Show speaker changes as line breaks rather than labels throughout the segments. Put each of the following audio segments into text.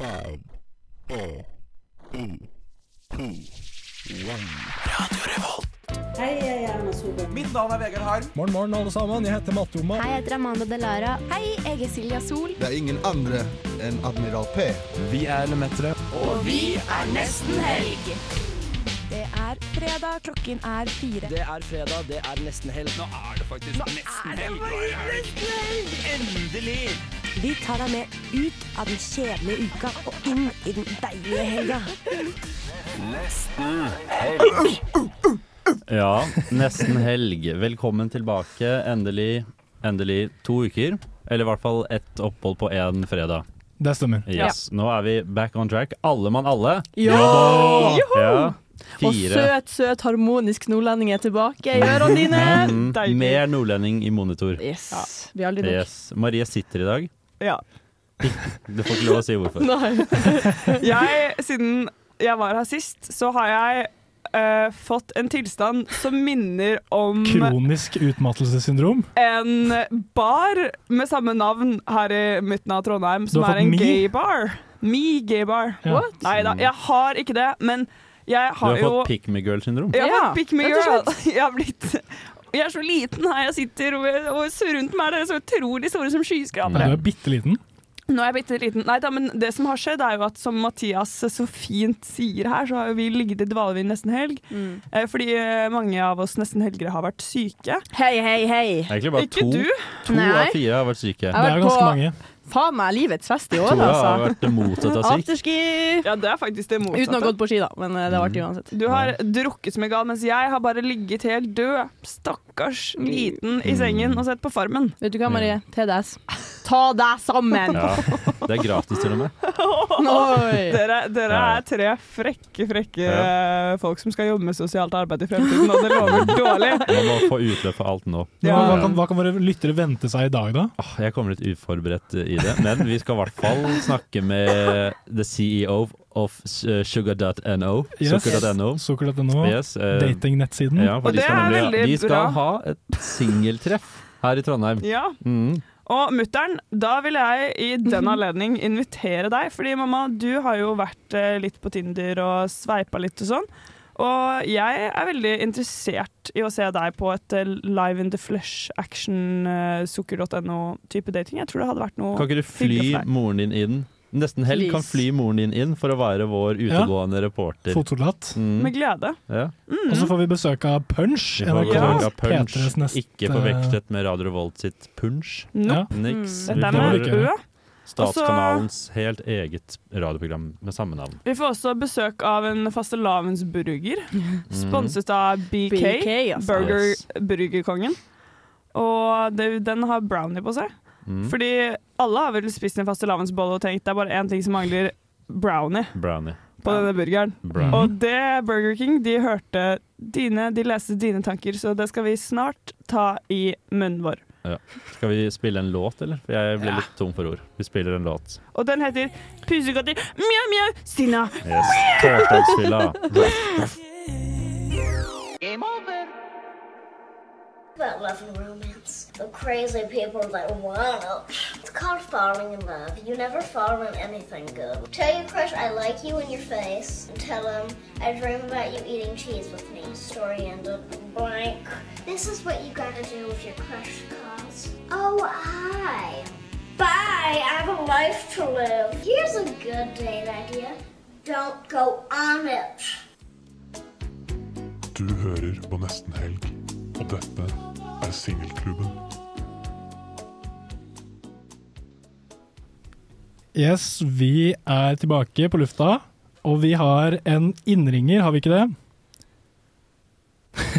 N, A, U, P, 1.
Hei, jeg er Erna Solberg.
Mitt navn er Vegard Harm.
Morgen, morgen, alle sammen. Jeg heter Matte Oma.
Hei, jeg heter Amanda Delara. Hei, jeg er Silja Sol.
Det er ingen andre enn Admiral P.
Vi er Lemetere.
Det er fredag, klokken er fire.
Det er fredag, det er nesten helg. Nå er det faktisk nesten helg. Endelig!
Vi tar deg med ut av den kjedelige uka og inn i den deilige helga.
Ja, nesten helg. Velkommen tilbake. Endelig, endelig to uker. Eller i hvert fall ett opphold på én fredag.
Det stemmer.
Yes. Nå er vi back on track. Alle mann alle.
Ja!
Ja.
Og
Fire.
søt, søt harmonisk nordlending er tilbake i ørene dine.
Mm,
Deilig.
mer nordlending i monitor.
Yes. Vi er aldri nok.
Yes. Marie sitter i dag.
Ja.
Du får ikke lov å si hvorfor.
Nei.
Jeg, siden jeg var her sist, så har jeg eh, fått en tilstand som minner om
Kronisk utmattelsessyndrom.
en bar med samme navn her i midten av Trondheim, som
har fått
er en
mi?
gay bar. Me gay bar.
Ja. What?
Nei da, jeg har ikke det, men jeg
Du
har,
har
jo
fått pick me girl-syndrom.
Jeg har
Ja,
fått pick me
rett og
girl. Jeg har blitt jeg er så liten her jeg sitter, og, og så rundt meg er dere så utrolig store som
Du
skyskrapere.
er bitte liten.
Nå er jeg bitte liten. Nei da, men det som har skjedd, er jo at som Mathias så fint sier her, så har jo vi ligget i dvalevind nesten helg.
Mm.
Eh, fordi eh, mange av oss nesten helgere har vært syke.
Hei, hei, hei.
Egentlig bare
Ikke
to,
du.
to
Eh, Nei.
av fire har vært syke.
Det
har
er
vært
ganske
på-
mange.
Faen meg livets fest i
To
år,
har
altså.
vært mottatt av syk.
Afterski.
Ja, det er faktisk det motsatte.
Uten å ha gått på ski, da. Men eh, det har vært uansett.
Du har drukket som en gal, mens jeg har bare ligget helt død, stakkars
Mm.
liten, i sengen og sett på Farmen.
Vet du hva, Marie? TDS. Ta deg sammen!
Ja. Det er gratis til og med.
Oi.
Dere, dere
Ja.
er tre frekke, frekke eh, folk som skal jobbe med sosialt arbeid i fremtiden, og det lover dårlig.
Man må få utløp for alt nå.
Hva,
Ja.
hva, kan, hva kan våre lyttere vente seg i dag, da?
Åh, Jeg kommer litt uforberedt eh, i det, men vi skal i hvert fall snakke med the CEO of eh, sugar.no.
Yes.
Sugar.no.
Sukker.no.
Yes, eh,
Datingnettsiden.
ja, for
Og
de
det
skal
er
nemlig-
veldig
De
bra.
skal ha et singeltreff her i Trondheim.
Ja.
Mm.
Og mutter'n, da vil jeg i den anledning invitere deg. Fordi mamma, du har jo vært eh, litt på Tinder og sveipa litt og sånn. Og jeg er veldig interessert i å se deg på et eh, live in the flesh action eh, sukker.no-type dating. Jeg tror det hadde vært noe
Kan ikke du fly
hyggelig for deg.
moren din inn? Nesten helg kan
Please.
fly moren din inn for å være vår utegående reporter.
Fotsoldat.
Mm.
Med glede.
Ja.
Mm.
Og så får vi besøk av Punch.
Vi får
NRK
besøk av Punch,
P3s neste
ikke forvekslet med Radio Revolt sitt Punch.
Nå.
Ja.
Niks.
Dette
Vi
Mm. er
får
med
ikke-
Ø.
Statskanalens helt eget radioprogram med samme navn.
Vi får også besøk av en fastelavnsburger.
Mhm.
Mm. Sponset av BK.
BK, altså.
Burger
Yes.
Burgerkongen. Og det, den har brownie på seg.
Mm.
Fordi alle har vel spist en fastelavnsbolle og tenkt det er bare én ting som mangler brownie
Brownie.
på denne burgeren.
Brownie.
Og det Burger King, de hørte dine, de leste dine tanker, så det skal vi snart ta i munnen vår.
Skal vi spille en låt, eller? For jeg ble litt tom for ord. Vi spiller en låt.
Og den heter Pusekatter mjau, mjau, Stina.
Yes. Torsdagsfylla.
about love and romance. The crazy people that want it. It's called falling in love. You never fall in anything good. Tell your crush I like you in your face. And tell him I dream about you eating cheese with me. Story ended. Blank. This is what you gotta do if your crush calls. Oh, I. Bye. I have a life to live. Here's a good date idea. Don't go on it.
Du hører på Nesten Helg, og dette er Singelklubben.
Yes, vi er tilbake på lufta, og vi har en innringer, har vi ikke det?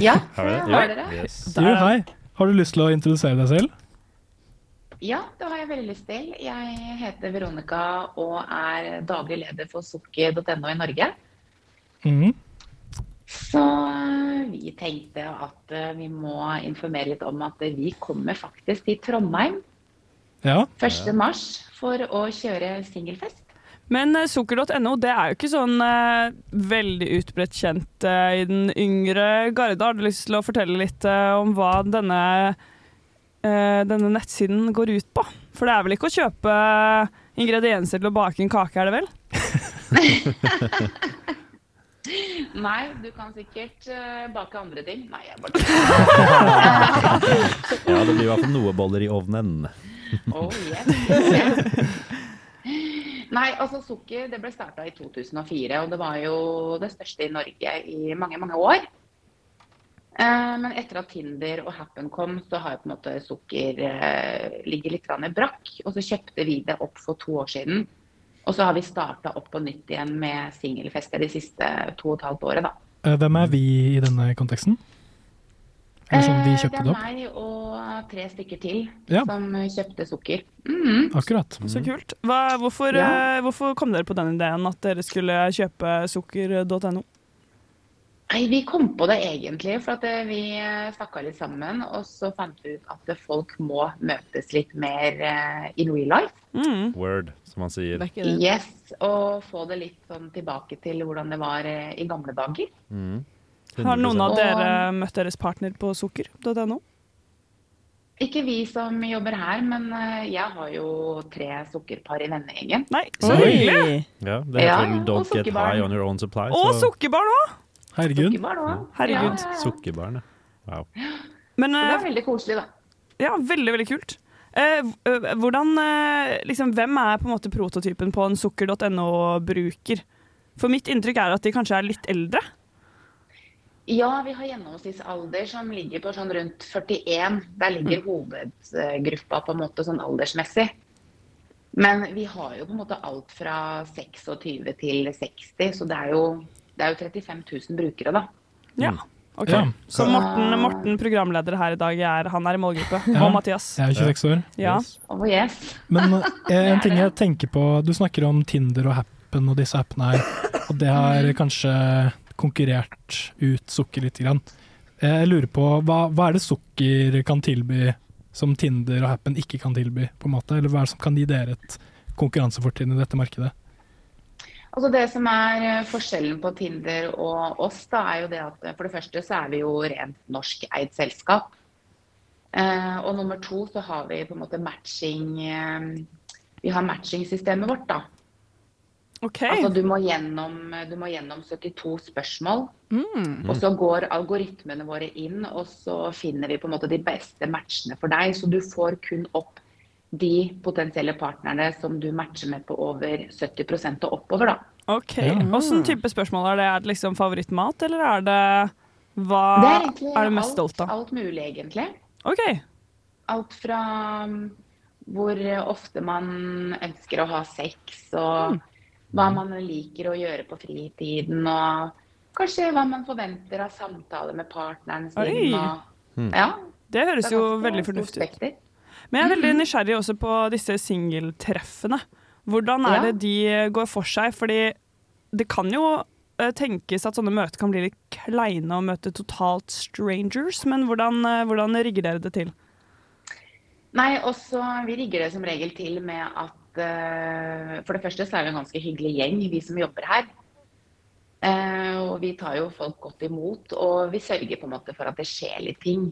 Ja, har dere? Ja. Yes.
Jo, hei. Har du lyst til å introdusere deg selv?
Ja, det har jeg veldig lyst til. Jeg heter Veronica og er daglig leder for sukker.no i Norge.
Mhm.
Så eh, vi tenkte at eh, vi må informere litt om at eh, vi kommer faktisk til Trondheim
Ja.
1. mars for å kjøre singelfest.
Men eh, sukker.no det er jo ikke sånn eh, veldig utbredt kjent eh, i den yngre garde. Har du lyst til å fortelle litt eh, om hva denne, eh, denne eh, nettsiden går ut på? For det er vel ikke å kjøpe ingredienser til å bake en kake, er det vel?
Nei, du kan sikkert eh, bake andre ting. Nei, jeg bare tuller.
Ja, det blir i hvert fall noe boller i ovnen.
Oh, yes. Nei, altså Sukker det ble starta i 2004, og det var jo det største i Norge i mange, mange år. Eh, Men etter at Tinder og Happen kom, så har jo på en måte Sukker eh, ligget litt grann i brakk. Og så kjøpte vi det opp for to år siden. Og så har vi starta opp på nytt igjen med singelfester de siste to og et halvt året, da.
Eh, Hvem er vi i denne konteksten? Eller sånn vi
Eh,
kjøpte
det
det
er
opp?
meg og tre stykker til
Ja.
som kjøpte sukker. Mm-hmm.
Akkurat.
Mm. Så kult. Hva, hvorfor,
Ja.
eh, hvorfor kom dere på den ideen at dere skulle kjøpe sukker.no?
Nei, vi kom på det egentlig, for at eh, vi eh, snakka litt sammen. Og så fant vi ut at folk må møtes litt mer eh, in real life.
Mm.
Word, som man sier.
Yes, Og få det litt sånn tilbake til hvordan det var eh, i gamle dager.
Mm.
Har noen av
100%.
dere møtt deres partner på sukker.no?
Ikke vi som jobber her, men eh, jeg har jo tre sukkerpar i vennegjengen.
Nei,
så
hyggelig!
Ja, det heter
Ja,
vel
og
Don't get
sukkerbarn.
high on your own supply.
Og
så-
sukkerbarn òg!
Herregud.
Sukkerbarn også.
Herregud.
Ja, ja, ja.
Sukkerbarn, ja. Wow.
Men,
Så det
eh,
er veldig koselig, da.
Ja, veldig, veldig kult. Eh, hv- eh, hvordan, eh, liksom, hvem er på en måte prototypen på en sukker.no-bruker? For mitt inntrykk er at de kanskje er litt eldre.
Ja, vi har gjennomsnittsalder som ligger på sånn rundt 41. Der ligger hovedgruppa på en måte sånn aldersmessig. Men vi har jo på en måte alt fra 26 til 60, så det er jo, det er jo 35 000 brukere, da.
Ja. Ok.
Mm. Ja.
Så Morten, Morten, programleder her i dag, er, han er i målgruppe.
Ja,
Og Mathias.
Jeg er 26 år.
Ja.
Oh, yes.
Men eh, en ting jeg tenker på Du snakker om Tinder og Happen og disse appene her, og det har kanskje konkurrert ut sukker lite grann. Eh, Jeg lurer på, hva, hva er det sukker kan tilby som Tinder og Happen ikke kan tilby, på en måte? Eller hva er det som kan gi dere et konkurransefortrinn i dette markedet?
Altså Det som er eh, forskjellen på Tinder og oss, da, er jo det at eh, for det første så er vi jo rent norskeid selskap. Eh, og nummer to så har vi på en måte matching eh, Vi har matchingsystemet vårt, da. Altså du må, gjennom, du må gjennom 72 spørsmål.
Mm.
Og så går algoritmene våre inn, og så finner vi på en måte de beste matchene for deg. Så du får kun opp de potensielle partnerne som du matcher med på over 70 og oppover, da.
Ok.
Ja.
Åssen type spørsmål er det? Er det liksom favorittmat, eller er det hva Ah,
Det er
er,
egentlig
du mest
alt,
stolt av?
alt mulig, egentlig.
OK.
Alt fra um, hvor ofte man ønsker å ha sex,
Mm.
og hva man liker å gjøre på fritiden, og kanskje hva man forventer av samtaler med partneren
Oi.
sin. Og, ja,
Det høres
Det er
jo
ganske
veldig
stort
fornuftig ut. Men jeg er veldig nysgjerrig også på disse singeltreffene. Hvordan er
Ja.
det de går for seg? Fordi det kan jo eh, tenkes at sånne møter kan bli litt kleine og møte totalt strangers, men hvordan, eh, hvordan rigger dere det til?
Nei, også, vi rigger det som regel til med at eh, For det første så er vi en ganske hyggelig gjeng, vi som jobber her. Eh, og vi tar jo folk godt imot, og vi sørger på en måte for at det skjer litt ting.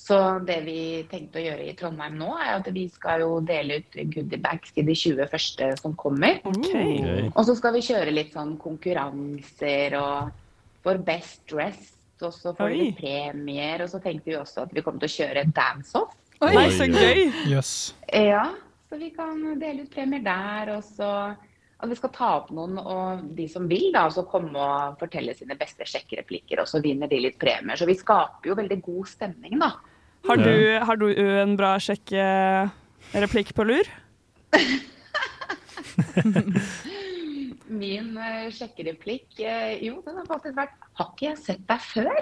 Så det vi tenkte å gjøre i Trondheim nå, er at vi skal jo dele ut goodiebags til de 20 første som kommer.
Gøy.
Og så skal vi kjøre litt sånn konkurranser og for best dressed, og så får vi
Oi.
litt premier. Og så tenkte vi også at vi kommer til å kjøre dance-off.
Oi, Nei, så gøy!
Jøss.
Ja, så vi kan dele ut premier der, og så at vi skal ta opp noen, og de som vil da, så komme og fortelle sine beste sjekkereplikker, og så vinner de litt premier. Så vi skaper jo veldig god stemning, da.
Har du, har du en bra sjekkereplikk på lur?
Min eh, sjekkereplikk, eh, jo, den har faktisk vært Har ikke jeg sett deg før?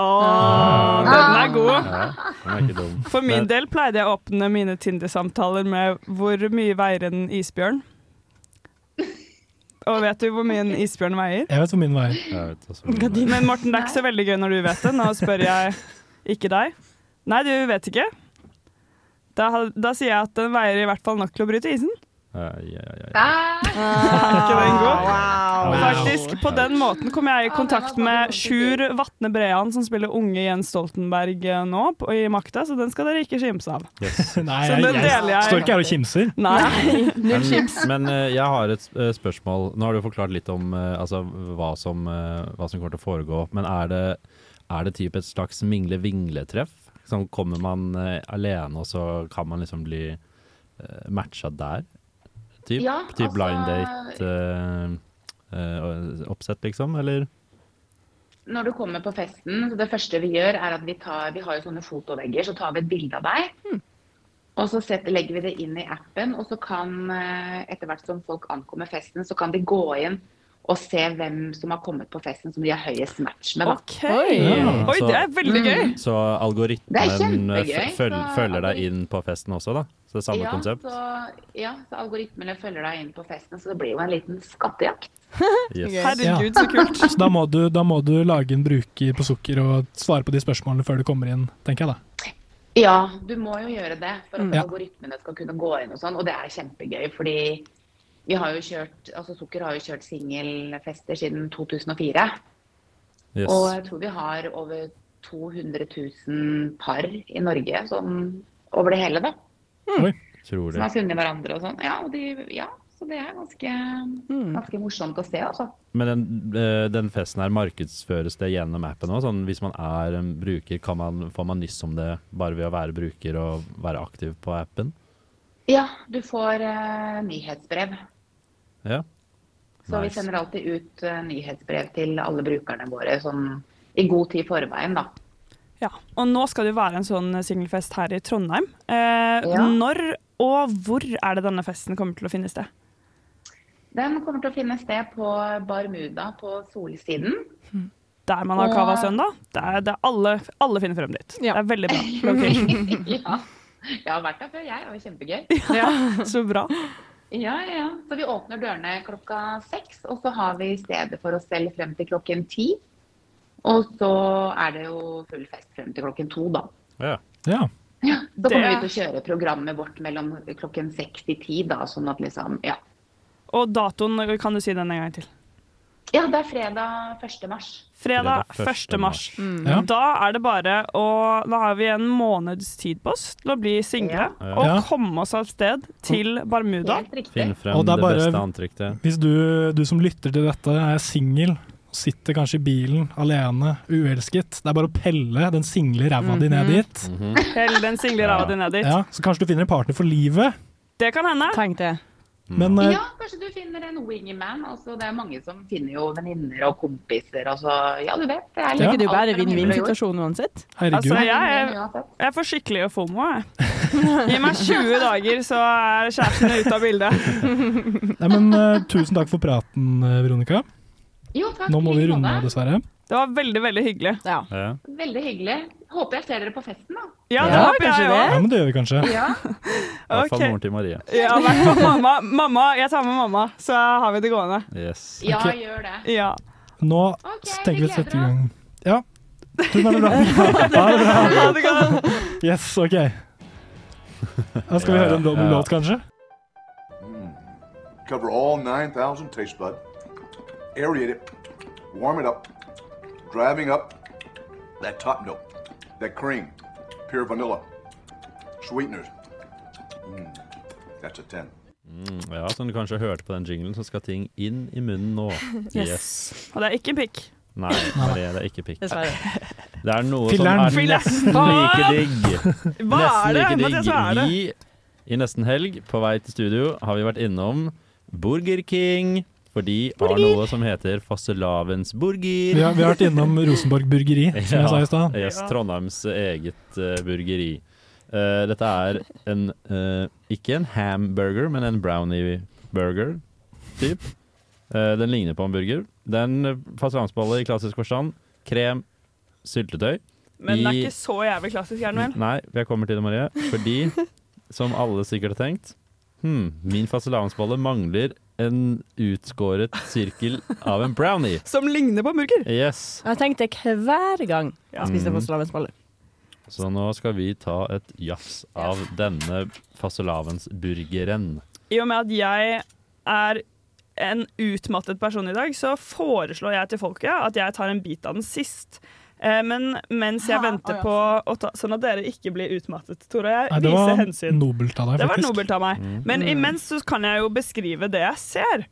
Åh, den er god.
Ja, den er ikke dum.
For min
Men-
del pleide jeg å åpne mine Tinder-samtaler med hvor mye veier en isbjørn? Og vet du hvor mye en isbjørn veier?
Jeg vet hvor min vei er.
Jeg vet også.
Men Morten, det er ikke så veldig gøy når du vet det. Nå spør jeg ikke deg. Nei, du vet ikke. Da, da sier jeg at den veier i hvert fall nok til å bryte isen.
Ja, ja, ja, ja.
Ah,
Er ikke den god?
Ja,
Faktisk, På den måten kom jeg i kontakt med Sjur Vatne Brean, som spiller unge Jens Stoltenberg eh, nå på, i Makta, så den skal dere ikke kimse av.
Nei,
Så
jeg, jeg,
den deler jeg.
står ikke her og kimser.
Nei.
Men, men eh, jeg har et eh, spørsmål. Nå har du forklart litt om eh, altså, hva, som, eh, hva som kommer til å foregå. Men er det, er det typ et slags mingle-vingle-treff? Sånn kommer man eh, alene, og så kan man liksom bli eh, matcha der? Typ,
Ja,
typ
altså-
blind eh, date-oppsett, liksom? Eller?
Når du kommer på festen, så det første vi gjør, er at vi, tar, vi har jo sånne fotovegger, så tar vi et bilde av deg. Og så setter, legger vi det inn i appen, og så kan eh, etter hvert som folk ankommer festen, så kan de gå inn og se hvem som har kommet på festen som de har høyest match med. Da.
Ja,
Oi,
så-
det er veldig gøy.
Så
Det er
algoritmen eh,
kjempegøy,
f- føl
så
følger deg inn på festen også, da? Så det er samme
ja,
konsept?
Så, ja, så algoritmene følger deg inn på festen, så det blir jo en liten skattejakt.
Yes.
Herregud, så kult.
Så da må, du, da må du lage en bruker på sukker og svare på de spørsmålene før du kommer inn, tenker jeg da.
Ja, du må jo gjøre det for at
Ja.
algoritmene skal kunne gå inn og sånn. Og det er kjempegøy, fordi vi har jo kjørt, altså Sukker har jo kjørt singelfester siden 2004.
Yes.
Og jeg tror vi har over 200 000 par i Norge som, over det hele, da.
Oi. Tror
Som har
det.
funnet hverandre og sånn. Ja, og de, ja, så det er ganske, ganske morsomt å se, altså.
Men den, eh, den festen her markedsføres det gjennom appen òg? Sånn, hvis man er en bruker, kan man, får man nyss om det bare ved å være bruker og være aktiv på appen?
Ja, du får eh, nyhetsbrev.
Ja.
Så vi
Nice.
sender alltid ut eh, nyhetsbrev til alle brukerne våre sånn i god tid i forveien, da.
Ja, og nå skal det jo være en sånn singelfest her i Trondheim. Eh,
Ja.
Når og hvor er det denne festen kommer til å finne sted?
Den kommer til å finne sted på Barmuda på solsiden.
Der man har Cava
Og-
søndag. Der, der alle, alle finner frem dit. Det er veldig bra. lokal.
ja. Jeg har vært der før, jeg. og Det var kjempegøy.
Ja, så bra.
Ja, ja, ja. Så vi åpner dørene klokka seks, og så har vi stedet for oss selv frem til klokken ti. Og så er det jo full fest frem til klokken to, da.
Ja.
Så kommer
Det-
vi til å kjøre programmet vårt mellom klokken seks til ti, da. Sånn at liksom, ja.
Og datoen, kan du si den en gang til?
Ja, det er fredag 1. mars.
Fredag
Fredag
1. mars.
Mm.
Ja.
Da er det bare å Da har vi en måneds tid på oss til å bli single
Ja.
og
Ja.
komme oss av sted til Barmuda.
Finn frem
Og det
det,
er bare-
beste antrekket.
Hvis du, du som lytter til dette er singel, sitter kanskje i bilen alene, uelsket, det er bare å pelle den single ræva di ned dit.
Hell den single ræva di ned dit.
Ja, så kanskje du finner en partner for livet.
Det kan hende.
Tenk det.
Men eh,
Ja, kanskje du finner en wingman. Altså, det er mange som finner jo venninner og kompiser. Altså, ja, du vet. Det er
Tror ikke
liksom
du bare
alt mellom himmel og jord.
vinn-vinn-situasjonen uansett?
Altså, jeg, er- jeg får skikkelig fomo, jeg. Gi meg 20 dager, så er kjæresten ute av bildet.
nei, men eh, tusen takk for praten, eh, Veronica.
Jo, takk.
Nå må
i
vi
like
runde
måte.
av, dessverre.
Det var veldig, veldig hyggelig.
Ja,
Veldig hyggelig. Håper jeg ser dere på festen, da.
det håper jeg
Ja,
òg.
men det gjør vi kanskje.
Ja.
I hvert fall
Ok.
moren til Marie.
Ja, i hvert fall mamma. mamma. Jeg tar med mamma, så har vi det gående.
Yes.
Ja,
Ok.
gjør det.
Ja.
Nå tenker vi å sette i gang. Ja. Tusen takk for praten. Ha det bra.
Ha det godt.
Yes, OK. Da skal vi
Ja,
høre en
ja,
dobbel
ja.
låt, kanskje?
Cover all 9,000 taste bud. Aerate it. Warm it up. Driving up that top note, that cream, pure vanilla, sweeteners. Mm, that's a 10.
Mm, ja, som du kanskje hørte på den jinglen, så skal ting inn i munnen nå.
Yes. Og det er ikke en pikk.
Nei, Marie, det er ikke pikk.
Dessverre.
Det er noe
Filler'n.
som er
Filler'n.
nesten
Hva?
like digg.
Hva er det?
Nesten
Mathias, hva er det?
Vi i Nesten Helg på vei til studio har vi vært innom Burger King. For de har noe som heter fastelavnsburger.
Vi har, vi har vært innom Rosenborg Burgeri, som jeg sa i stad.
Yes, Trondheims eget eh, burgeri. Eh, dette er en eh, ikke en hamburger, men en brownie-burger. Typ. Eh, den ligner på en burger. Det er en fastelavnsbolle i klassisk forstand. Krem, syltetøy.
Men den er
I-
ikke så jævlig klassisk, er den vel?
Nei, jeg kommer til det, Marie. Fordi, som alle sikkert har tenkt Hm, min fastelavnsbolle mangler en utskåret sirkel av en brownie.
Som ligner på burger.
Yes.
Jeg tenkte hver gang jeg spiste
Mm.
fastelavnsboller.
Så nå skal vi ta et jafs av denne fastelavnsburgeren.
I og med at jeg er en utmattet person i dag, så foreslår jeg til folket at jeg tar en bit av den sist. Eh, Men mens jeg
Ha,
venter
å ja.
på å ta, Sånn at dere ikke blir utmattet, Tore og jeg.
Nei, det var
viser hensyn.
nobelt av deg,
Det var
faktisk.
nobelt av meg. Men
Mm.
imens så kan jeg jo beskrive det jeg ser.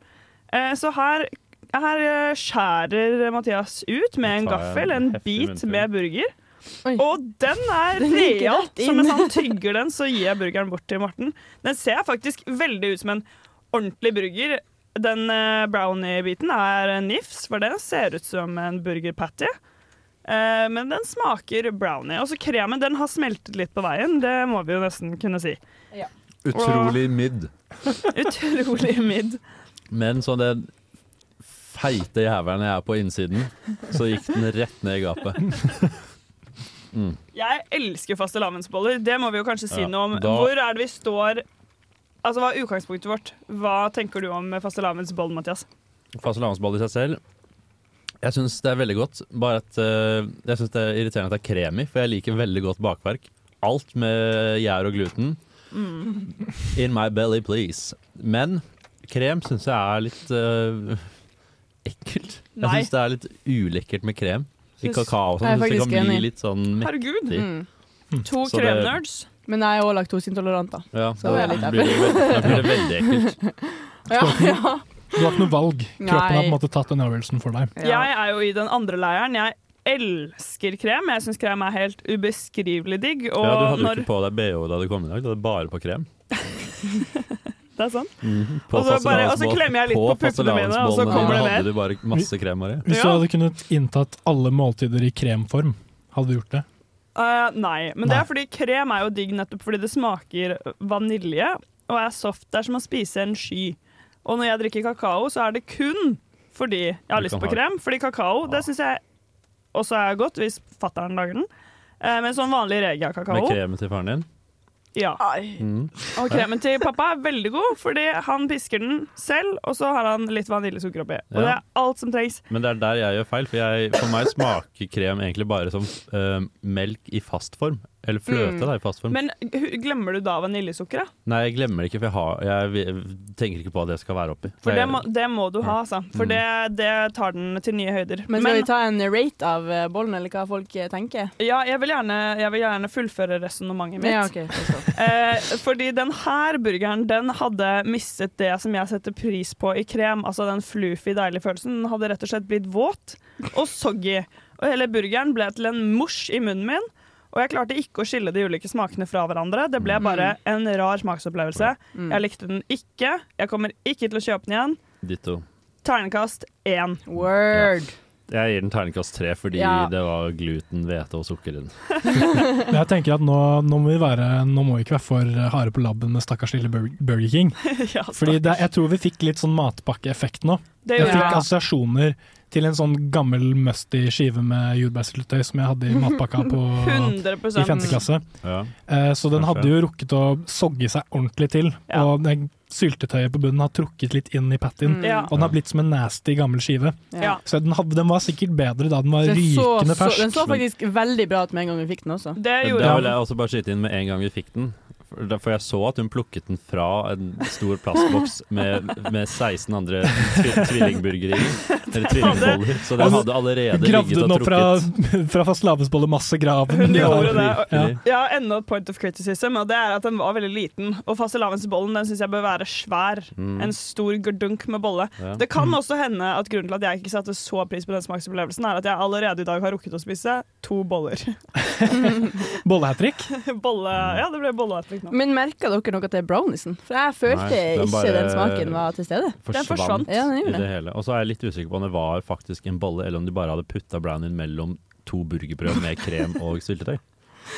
Eh, Så her, her eh, skjærer Mathias ut med en
tar jeg en
gaffel en
heftig
bit
munnfull.
med burger. Og den er
Den gikk
real.
rett
Så mens
inn.
han tygger den, så gir jeg burgeren bort til Morten. Den ser faktisk veldig ut som en ordentlig burger. Den eh, brownie-biten er nifs, for den ser ut som en burger patty. Eh, Men den smaker brownie. Og så kremen den har smeltet litt på veien. Det må vi jo nesten kunne si.
Utrolig midd.
Utrolig midd.
Men så den feite jævelen jeg er på innsiden, så gikk den rett ned i gapet. Mm.
Jeg elsker fastelavnsboller. Det må vi jo kanskje si
Ja,
noe om.
da-
Hvor er det vi står Altså, Hva er utgangspunktet vårt? Hva tenker du om fastelavnsboll, Mathias?
Fastelavnsboll i seg selv. Jeg syns det er veldig godt, bare at eh, jeg synes det er irriterende at det er krem i, for jeg liker veldig godt bakverk. Alt med gjær og gluten.
Mm.
In my belly, please. Men krem syns jeg er litt eh, ekkelt. Jeg
Nei.
syns det er litt ulekkert med krem. I
Syns-
kakao og
Jeg er
sånn. Syns det
faktisk
kan bli
enig.
litt sånn mektig.
Hmm. To
Så det-
Men jeg er òg laktoseintolerant, da.
Ja,
så det er litt
da blir det
derfor.
veld- da blir det veldig ekkelt.
Ja, ja.
Du har ikke noe valg. Kroppen
Nei.
har på en måte tatt den avgjørelsen for deg.
Jeg er jo i den andre leiren. Jeg elsker krem. Jeg syns krem er helt ubeskrivelig digg. Og
Ja, du hadde jo
når
ikke på deg BH da du kom i dag, du hadde bare på krem.
Det er sånn.
Mhm.
Og så bare- og så
fastelavnsboll-
klemmer jeg litt på puppene mine, og så
fastelavnsbollene
kommer det
Hadde
ned.
du bare masse krem, Marie?
Hvis du hadde kunnet inntatt alle måltider i kremform, hadde du gjort det?
Eh, nei, men det
Nei.
er fordi krem er jo digg nettopp fordi det smaker vanilje og er soft. Det er som å spise en sky. Og når jeg drikker kakao, så er det kun fordi jeg har
Du
lyst
kan
på
ha det. Ah.
krem. Fordi kakao det syns jeg også er godt, hvis fatter'n lager den. Eh, men sånn vanlig
Med
Regia-kakao
kremen til faren din?
ja.
Mm.
Mhm.
Og kremen til pappa er veldig god, fordi han pisker den selv, og så har han litt vaniljesukker oppi.
Ja.
Og det er alt som trengs.
Men det er der jeg gjør feil, for, jeg, for meg smaker krem egentlig bare som eh, melk i fast form. Eller fløte,
Mm.
da, i fast form.
Men hu- glemmer du da vaniljesukkeret?
Nei, jeg glemmer det ikke, for jeg, har, jeg vi- tenker ikke på hva det skal være oppi.
For det
jeg,
må, det må du ha, altså. For
Mm.
det, det tar den til nye høyder.
Men skal vi ta en rate av eh, bollen, eller hva folk eh, tenker?
ja, jeg vil gjerne, jeg vil gjerne fullføre resonnementet mitt.
Ja, ok,
eh, fordi den her burgeren den hadde mistet det som jeg setter pris på i krem. Altså den fluffy, deilige følelsen. Den hadde rett og slett blitt våt og soggy. Og hele burgeren ble til en mosj i munnen min. Og jeg klarte ikke å skille de ulike smakene fra hverandre. Det ble bare
Mm.
en rar smaksopplevelse.
Mm.
Jeg likte den ikke. Jeg kommer ikke til å kjøpe den igjen.
Ditto.
Ternekast én.
Word.
Jeg gir den terningkast tre fordi
Ja.
det var gluten, hvete og sukker i den.
Men jeg tenker at nå, nå, må vi være, nå må vi ikke være for harde på labben med stakkars lille Bur- Burger King.
altså.
Fordi det, jeg tror vi fikk litt sånn matpakkeeffekt nå.
Det
Jeg
gjorde
fikk
vi.
assosiasjoner til en sånn gammel musty skive med jordbærsyltetøy som jeg hadde i matpakka på, i
100%.
femte klasse. Eh, så den hadde jo rukket å sogge seg ordentlig til. Og det syltetøyet på bunnen har trukket litt inn i pattyen.
Mm. Ja.
Og den har blitt som en nasty gammel skive.
Ja.
Så den, hadde, den var sikkert bedre da den var
Den så,
rykende
så,
fersk.
den så faktisk veldig bra ut med en gang vi fikk den også.
Det
Da vil jeg også bare skyte inn med en gang vi fikk den. For da- for jeg så at hun plukket den fra en stor plastboks med, med 16 andre tvi tvillingburgere i. Eller tvillingboller. Så den hadde allerede
Gravde
ligget
den
og
opp fra,
trukket.
fra fastelavnsbollemassegraven.
Hun
Ja.
gjorde det. og-
Ja.
Jeg har enda et point of criticism, og det er at den var veldig liten. Og fastelavnsbollen den syns jeg bør være svær.
Mm.
En stor gardunk med bolle.
Ja.
Det kan
Mm.
også hende at grunnen til at jeg ikke satte så pris på den smaksopplevelsen, er at jeg allerede i dag har rukket å spise to boller.
Bollehattrick?
bolle
Mm.
Ja, det ble bollehattrykk nå.
Men merka dere noe til brownisen? For jeg følte
Nei, den
ikke
bare
den smaken var til stede. Ja, den
i
gjorde
det
det.
hele. Og så er jeg litt usikker på om det var faktisk en bolle, eller om de bare hadde putta brownien mellom to burgerbrød med krem og syltetøy.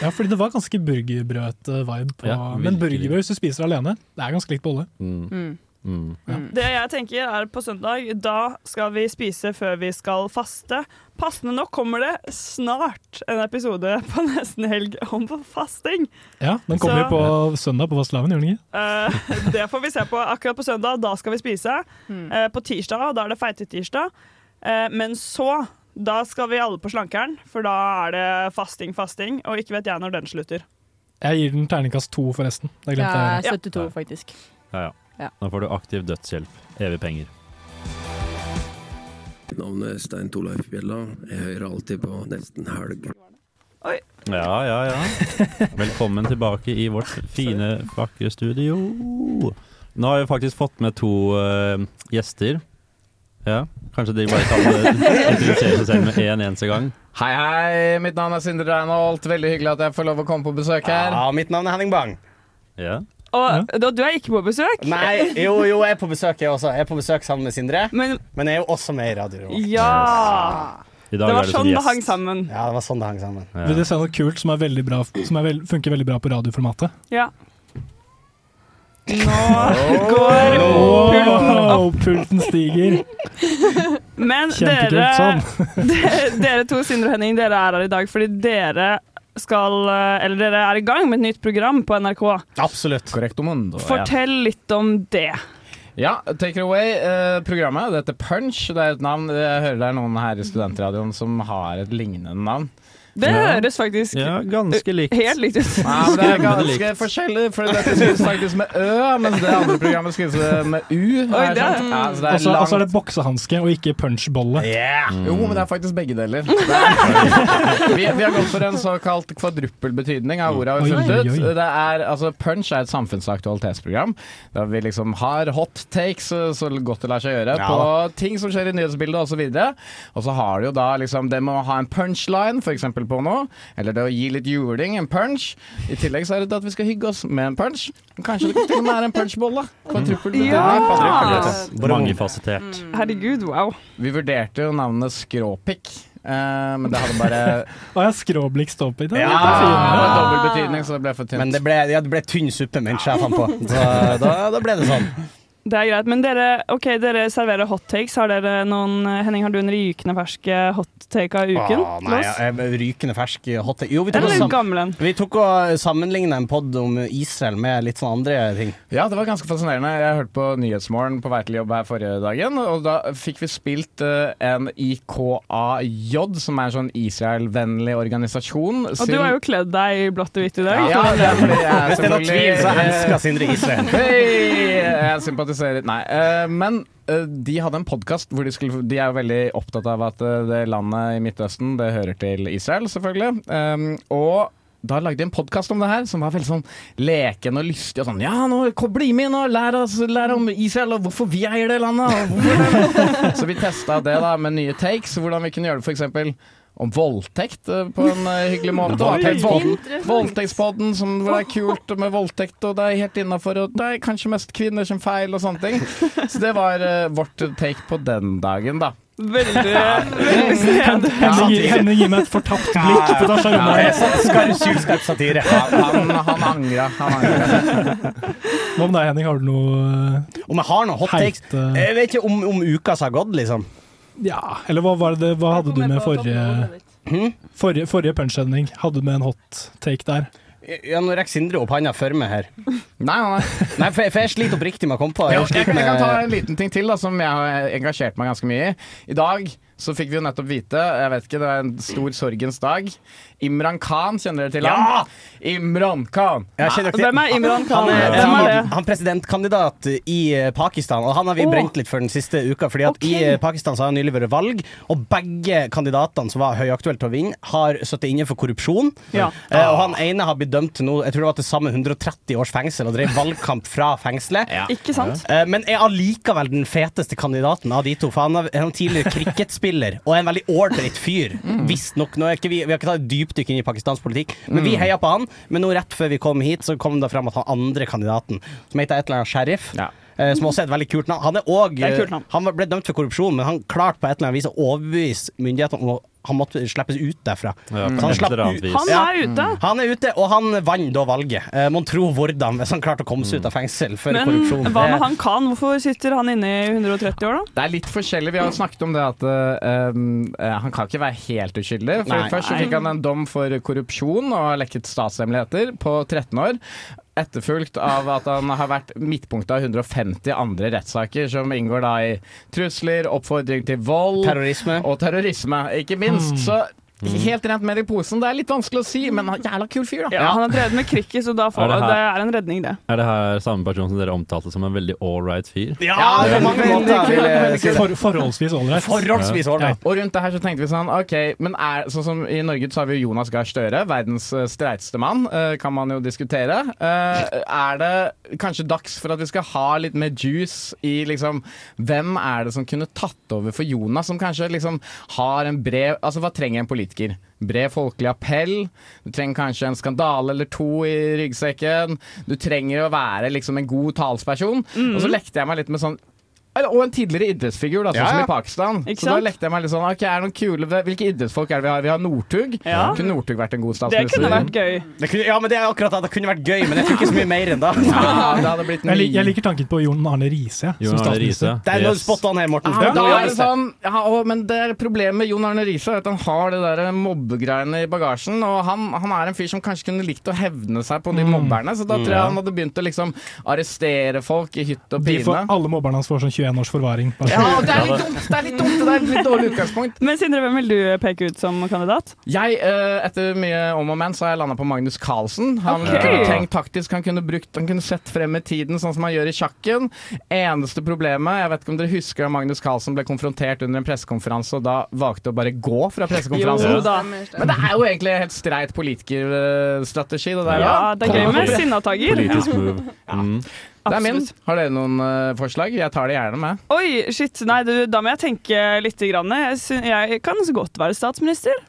ja, fordi det var ganske burgerbrød-vibe. på
Ja,
men
virkelig.
burgerbrød, hvis du spiser det alene, det er ganske likt bolle.
Mm.
Mm.
Det jeg tenker er på søndag, da skal vi spise før vi skal faste. Passende nok kommer det snart en episode på Nesten helg om fasting.
Ja, Den kommer
Så-
jo på søndag på Vasselaven, gjør den ikke?
Eh, det får vi se på akkurat på søndag. Da skal vi spise. Eh, på tirsdag, da er det feitetirsdag. Uh, men så, da skal vi alle på slankeren, for da er det fasting, fasting. Og ikke vet jeg når den slutter.
Jeg gir den terningkast to, forresten. Det glemte jeg å gjøre.
Ja, 72 faktisk.
Ja, ja.
Ja.
Nå får du aktiv dødshjelp. Evig penger.
Navnet Stein Torleif Bjella. Jeg hører alltid på Nesten Helg.
Ja, ja, ja. Velkommen tilbake i vårt fine, vakre studio. Nå har vi faktisk fått med to eh, gjester. Ja, kanskje de bare kan eh, introdusere seg selv med én eneste gang.
Hei, hei. Mitt navn er Sindre Reinholt. Veldig hyggelig at jeg får lov å komme på besøk her.
Ja, mitt navn er Henning Bang.
Ja.
Og da, du er ikke på besøk?
Nei, jo, jo, jeg er på besøk, jeg også. Jeg er på besøk sammen med Sindre, men, jeg er jo også med i Radio Revolt.
Ja!
I
Det var sånn det hang sammen.
Ja, det var sånn det hang sammen.
Vil dere se noe kult som, er veldig bra, som er vel, funker veldig bra på radioformatet?
Ja. Nå går pulten opp.
Wow, pulten stiger.
Men
Kjempekult,
dere,
sånn.
de- dere to, Sindre og Henning, dere er her i dag fordi dere skal eh, Eller dere er i gang med et nytt program på NRK.
Absolutt.
Korrekt om mundo,
Fortell litt om det.
Ja, Take It Away, eh, programmet. Det heter Punch. Det er et navn. Jeg hører det er noen her i studentradioen som har et lignende navn.
Det høres faktisk
Ja, ganske likt.
helt likt ut.
Nei, men det er ganske forskjellig, for dette skrives faktisk med Ø, mens det andre programmet skrives med U.
Oi, det
Ja,
er-
så det
Og
er
så og så
langt.
er det boksehanske og ikke punchbolle.
Jo, men det er faktisk begge deler. Det er- Vi, vi har gått for en såkalt kvadruppelbetydning av ordet. har vi
Oi,
funnet
oi,
ut.
oi.
Det er, altså, Punch er et samfunnsaktualitetsprogram der vi liksom har hot takes eh, så godt det lar seg gjøre
Ja
på ting som skjer i nyhetsbildet osv. Og så har du jo da liksom det med å ha en punchline f.eks. på noe, eller det å gi litt juling, en punch. I tillegg så er det det at vi skal hygge oss med en punch. Kanskje det til og med er en punchbolle. Kvadruppelbetydning.
Ja!
Kvadruppel.
Mangefasettert.
Herregud, wow.
Vi vurderte jo navnet Skråpikk, eh, men det hadde bare
Å ja, skråblikk ståpikk.
Ja, det var dobbel betydning, så det ble for tynt.
Ah. Men det ble, ja, det ble tynn suppe, men sjefen på. Så da, da ble det sånn.
Det er greit, men dere, ok, dere serverer hot takes. Har dere noen, Henning, har du en rykende fersk eh, hot take av uken?
Åh, Ah, nei,
Lars?
jeg, sånn- jeg, rykende fersk hot take. Jo, vi tok,
Eller
og
gammel en.
vi tok og sammenligna en pod om Israel med litt sånn andre ting.
Ja, det var ganske fascinerende. Jeg hørte på Nyhetsmorgen på vei til jobb her forrige dagen, og da fikk vi spilt eh, en IKAJ, som er en sånn Israel-vennlig organisasjon.
Og du har jo kledd deg i blått og hvitt i dag.
Ja, det er fordi
Hvis
jeg
det er noe
selvfølgelig-
tvil, så elsker Sindre Israel.
Hei, jeg sympatiserer Nei, eh, men eh, de hadde en podkast hvor de, skulle, de er jo veldig opptatt av at eh, det landet i Midtøsten, det hører til Israel, selvfølgelig. Um, og da lagde de en podkast om det her, som var veldig sånn leken og lystig. og sånn, Ja, nå kom- bli med nå, lær, oss, lær om Israel og hvorfor vi eier det landet. Og hvorfor det. Så vi testa det da med nye takes, hvordan vi kunne gjøre det f.eks. om voldtekt eh, på en eh, hyggelig måte.
Oi,
Voldtektspodden.
interessant.
Voldtektspodden som hvor det er kult med voldtekt, og det er helt innafor, og det er kanskje mest kvinner som feil, og sånne ting. Så det var eh, vårt take på den dagen, da.
Veldig,
veldig snedig.
Henning gir- Henning gir meg et fortapt blikk på Dasha
Skarp satire.
Han, han angra. Han angra.
Hva med deg, Henning? Har du noe
Om jeg har noen hot takes?
Heit, eh,
Jeg vet ikke om, om uka som har gått, liksom.
Ja, eller hva, var det, hva hadde du med forrige Forrige, forrige punch-sending hadde du med en hot take der.
Ja, nå rekker Sindre opp handa for meg her.
Nei, nei.
Nei, for, for jeg sliter oppriktig med å komme på.
Jo, jeg,
sliter
jeg kan ta
med-
en liten ting til da, som jeg har engasjert meg ganske mye i. I dag så fikk vi jo nettopp vite, jeg vet ikke, det er en stor sorgens dag. Imran Khan, kjenner dere til
Ja!
ham? Imran Khan.
Jeg kjenner ikke til- Han er, han- han er presidentkandidat i eh, Pakistan, og han har vi
Åh.
brent litt for den siste uka. Fordi at i eh, Pakistan så har det nylig vært valg, og begge kandidatene som var høyaktuelle til å vinne, har sittet inne for korrupsjon.
Ja.
Eh, og han ene har blitt dømt til noe, jeg tror det var til sammen 130 års fengsel, og drev valgkamp fra fengselet.
Ikke sant?
Eh, Men er allikevel den feteste kandidaten av de to. For han er han er tidligere cricketspiller og er en veldig ordreit fyr. Visstnok. nå er ikke Vi, vi har ikke tatt et dypdykk inn i pakistansk politikk, men vi
Mm.
heia på han. Men nå rett før vi kom hit, så kom det fram at han andre kandidaten, som heter et eller annet Sheriff eh, Som også er et veldig kult navn. Han, er også,
Det er et kult navn.
eh, han ble dømt for korrupsjon, men han klarte på et eller annet vis å overbevise myndighetene om å han måtte slippes ut derfra.
Ja,
Så
på et
slapp
eller annet
ut-
vis.
Ja.
Han er ute.
Mm. Han er ute, og han vant da valget. Eh, Mon tro hvordan, hvis han klarte å komme seg ut av fengsel for
Men
korrupsjon.
hva med
Det-
han Khan? Hvorfor sitter han inne i 130 år, da?
Det er litt forskjellig. Vi har jo snakket om det at eh, um, eh, han kan ikke være helt uskyldig. For
Nei.
Først så
Nei.
fikk han en dom for korrupsjon og har lekket statshemmeligheter på 13 år. Etterfulgt av at han har vært midtpunktet av 150 andre rettssaker, som inngår da i trusler, oppfordring til vold
Terrorisme.
Hmm. og terrorisme, ikke minst. Så
Helt rent med i posen. Det er litt vanskelig å si, men han er jævla kul fyr, da.
Ja, han har drevet med cricket, så da
Er
får
det
det,
her-
det er en redning, det.
Er det her samme person som dere omtalte som en veldig ålreit fyr?
Ja, det er mange måter. Veldig kul.
Eh, For, forholdsvis ålreit.
Forholdsvis
Ja.
ålreit. Og rundt det her så tenkte vi sånn, ok, men er, sånn som I Norge så har vi jo Jonas Gahr Støre, verdens eh, streiteste mann, eh, kan man jo diskutere. Eh, Er det kanskje dags for at vi skal ha litt mer juice i liksom Hvem er det som kunne tatt over for Jonas, som kanskje liksom har en bred Altså, hva trenger en politiker? Bred folkelig appell. Du trenger kanskje en skandale eller to i ryggsekken. Du trenger å være liksom en god talsperson.
Mhm.
Og så lekte jeg meg litt med sånn eller, og en tidligere idrettsfigur, da, sånn
Ja,
som
ja.
i Pakistan.
Ikke
Så da
sant?
lekte jeg meg litt sånn Ok, er det noen kule Hvilke idrettsfolk er det vi har? Vi har Northug.
Ja.
Kunne Northug vært en god
Det
statsminister?
kunne vært gøy.
Det kunne, ja, men det er akkurat det. Det kunne vært gøy, men jeg fikk ikke så mye mer enn da.
Ja, det hadde blitt
Ah. Jeg, lik, jeg liker tanken på Jon Arne Riise som
Jon Arne
statsminister.
Riise. Der lå du Yes.
spot on her, Morten.
Ja, da er det sånn, ja, å, men det er problemet med Jon Arne Riise er at han har det der mobbegreiene i bagasjen. Og han, han er en fyr som kanskje kunne likt å hevne seg på de mobberne, så da
Mm.
tror jeg
Ja.
han hadde begynt å liksom arrestere folk i hytt og
De får,
pine.
alle mobberne hans får sånn 21 års forvaring. Bare-
Ja, og det er litt dumt! Det er litt dumt, det er et litt dårlig utgangspunkt.
Men Sindre, hvem vil du peke ut som kandidat?
Jeg, eh, etter mye om og men, så har jeg landa på Magnus Carlsen. Han
Ok.
kunne tenkt taktisk, han kunne, brukt, han kunne sett frem i tiden, sånn som han gjør i sjakken. Eneste problemet, jeg vet ikke om dere husker at Magnus Carlsen ble konfrontert under en pressekonferanse, og da valgte å bare gå fra pressekonferansen.
Jo da.
Men det er jo egentlig en helt streit politikerstrategi, det der.
Ja, det er gøy med
Kom-
sinnatager.
Politisk move. Mm.
Det er min.
Absolutt.
Har dere noen eh, forslag? Jeg tar det gjerne med.
Oi, shit. Nei, du, da må jeg tenke litt. Grann. Jeg, syn- jeg kan så godt være statsminister.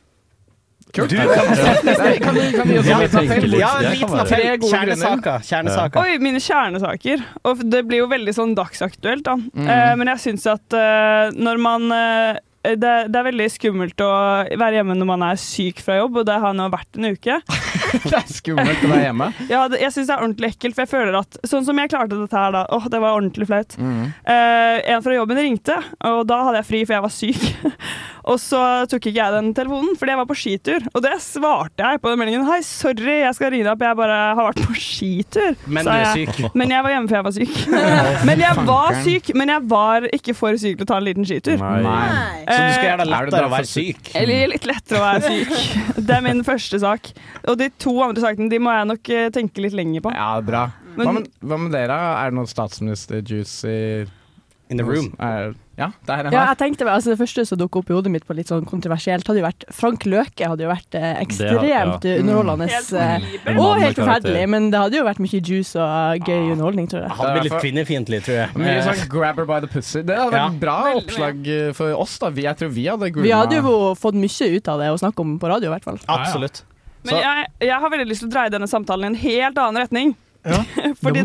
Kult. Kan, kan, du- kan du gi oss
Ja,
en liten appell?
ja, en liten appell.
Tre gode grunner.
Kjernesaker. Kjernesaker.
Oi, mine kjernesaker. Og det blir jo veldig sånn dagsaktuelt, da.
Mm.
Eh, men jeg syns at eh, når man eh, det, det er veldig skummelt å være hjemme når man er syk fra jobb, og det har nå vært en uke.
Det er skummelt å være hjemme.
Ja, det, jeg syns det er ordentlig ekkelt, for jeg føler at sånn som jeg klarte dette her, da Åh, det var ordentlig flaut.
Mm.
Eh, en fra jobben ringte, og da hadde jeg fri, for jeg var syk. og så tok ikke jeg den telefonen, fordi jeg var på skitur. Og det svarte jeg på den meldingen. Hei, sorry, jeg skal ringe deg opp, jeg bare har vært på skitur.
Men du
sa
er
jeg.
syk.
Men jeg var hjemme, for jeg var syk. men jeg var
fankeren.
syk, men jeg var ikke for syk til å ta en liten skitur.
Nei. Så du skal gjøre det
Eh,
lettere å være syk?
eller litt lettere å være syk. Det er min første sak. Og de to andre sakene de må jeg nok eh, tenke litt lenger på.
Ja, bra. Hva
Men-
med, hva med dere? Er det noen statsminister-juice i
In the room.
Er, ja, det er en
Ja,
her.
jeg tenkte vel, altså Det første som dukket opp i hodet mitt på litt sånn kontroversielt, hadde jo vært Frank Løke hadde jo vært eh,
Det hadde- ja.
ekstremt underholdende.
Helt
Mm.
eh,
horribel. En mann
og
med
helt forferdelig,
karakter. Ah,
men det hadde jo vært mye juice og eh, gøy underholdning, tror jeg.
Han blir litt kvinnefiendtlig, tror jeg.
Mye
Eh,
sånn 'grabber by the pussy'. Det hadde vært
Ja.
et bra oppslag eh, for oss. da Vi- Jeg tror vi hadde
Vi hadde
grooma
jo fått mye ut av det å snakke om på radio, i hvert fall.
Absolutt.
Men jeg, jeg har veldig lyst til å dreie denne samtalen i en helt annen retning. fordi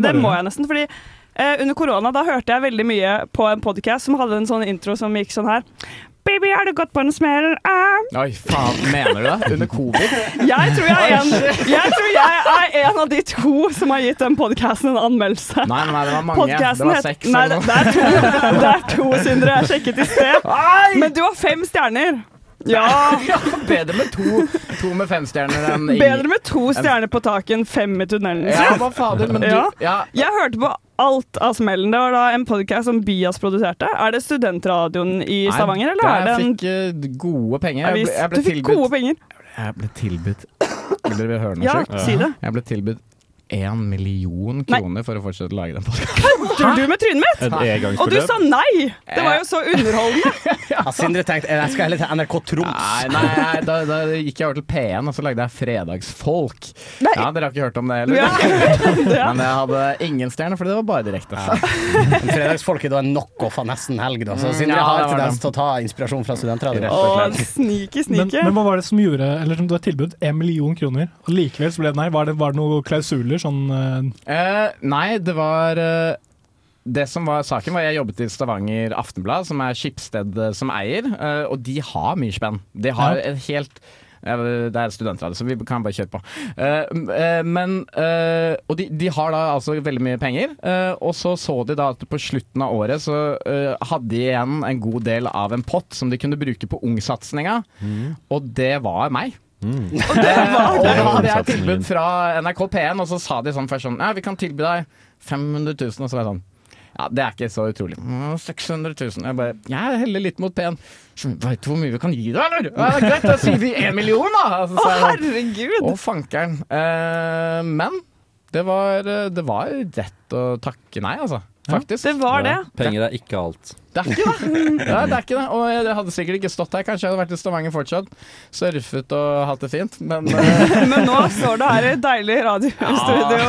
det må
det
du
må
gjøre.
jeg nesten. Fordi eh, under korona da hørte jeg veldig mye på en podkast som hadde en sånn intro som gikk sånn her. Baby, har du gått på en smell? Ah.
Oi, faen, mener du det? Under covid?
Jeg tror jeg, er en, jeg tror jeg er en av de to som har gitt den podkasten en anmeldelse.
Nei, nei, det var mange. Det
Podcasten
var
het-
seks
Nei,
eller noe.
det, det er to, det er to Sindre. Jeg sjekket i sted. Men du har fem stjerner. Ja.
Bedre med to, to med fem stjerner enn ingen.
Bedre med to stjerner på taket enn fem i tunnelen.
Ja, hva fader, men du-
Ja.
ja.
Jeg hørte på alt av smellen. Det var da en podkast som Bias produserte. Er det studentradioen i
Nei,
Stavanger,
der
eller er det en
fikk eh, gode penger. Jeg
avis?
ble, jeg ble
Du fikk
tilbudt
gode penger.
Jeg ble tilbudt Vil dere høre noe
Ja,
sjukt?
si det.
Jeg ble tilbudt én million kroner for å fortsette å lage den podkasten.
Kødder du med trynet mitt?
Et engangsbeløp.
Og du sa nei! Det var jo så underholdende.
Ja, Sindre tenkte eh, jeg skal heller til NRK Troms.
Nei, nei, nei da, da gikk jeg over til P1, og så lagde jeg Fredagsfolk. Ja, Dere har ikke hørt om det heller? Men jeg hadde ingen stjerne, for det var bare direkte.
Men Fredagsfolk er da en knockoff av Nesten Helg, da. Så
Mm,
Sindre
ja,
har
det var
tendens
det.
til å ta inspirasjon fra studentradioen.
snike,
Men, men hva var det som gjorde Eller som du har tilbudt én million kroner, og likevel så ble det nei? Var det, var det noen klausuler? Sånn eh,
Eh, nei, det var eh, Det som var saken, var jeg jobbet i Stavanger Aftenblad, som er skipssted eh, som eier, eh, og de har mye spenn. De har
Ja.
et helt ja, det er studentradio, så vi kan bare kjøre på. Eh, m- eh, men, eh, og de, de har da altså veldig mye penger. eh, og så så de da at på slutten av året så eh, hadde de igjen en god del av en pott som de kunne bruke på ungsatsinga, og det var meg.
Og det var
Og
det.
da hadde jeg tilbud fra NRK P1, og så sa de sånn først sånn Ja, vi kan tilby deg 500 000, og så var jeg sånn Ja, det er ikke så utrolig. Mm, 600 000. Jeg bare Jeg heller litt mot P1. Veit du hvor mye vi kan gi deg, eller? Ja, det er greit, da sier vi én million, da! Altså, så
Å,
er det-
herregud!
Å, fankeren. Eh, men det var, eh, det var rett å takke nei, altså. Faktisk.
Det var det.
Penger er ikke alt.
Det er ikke det. Ja, det er ikke det. Og jeg hadde sikkert ikke stått her. Kanskje jeg hadde vært i Stavanger fortsatt. Surfet og hatt det fint. Men eh,
Men nå står du her i et deilig radiostudio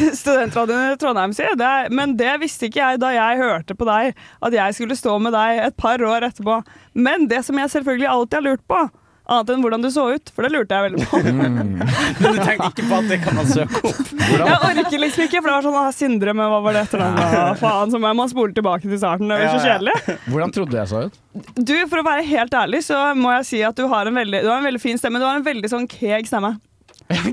i Studentradioen i Trondheim, sier jeg. det. er- Men det visste ikke jeg da jeg hørte på deg, at jeg skulle stå med deg et par år etterpå. Men det som jeg selvfølgelig alltid har lurt på, annet enn hvordan du så ut, for det lurte jeg veldig på.
Men du tenkte ikke på at det kan man søke opp?
Jeg orker liksom ikke, for det var sånn ah, Sindre, men hva var det etternavnet? Ah, Faen, så må jeg må spole tilbake til starten. Det blir så
Ja, ja.
kjedelig.
hvordan trodde jeg så ut?
Du, for å være helt ærlig, så må jeg si at du har en veldig, du har en veldig fin stemme. Du har en veldig sånn keeg stemme.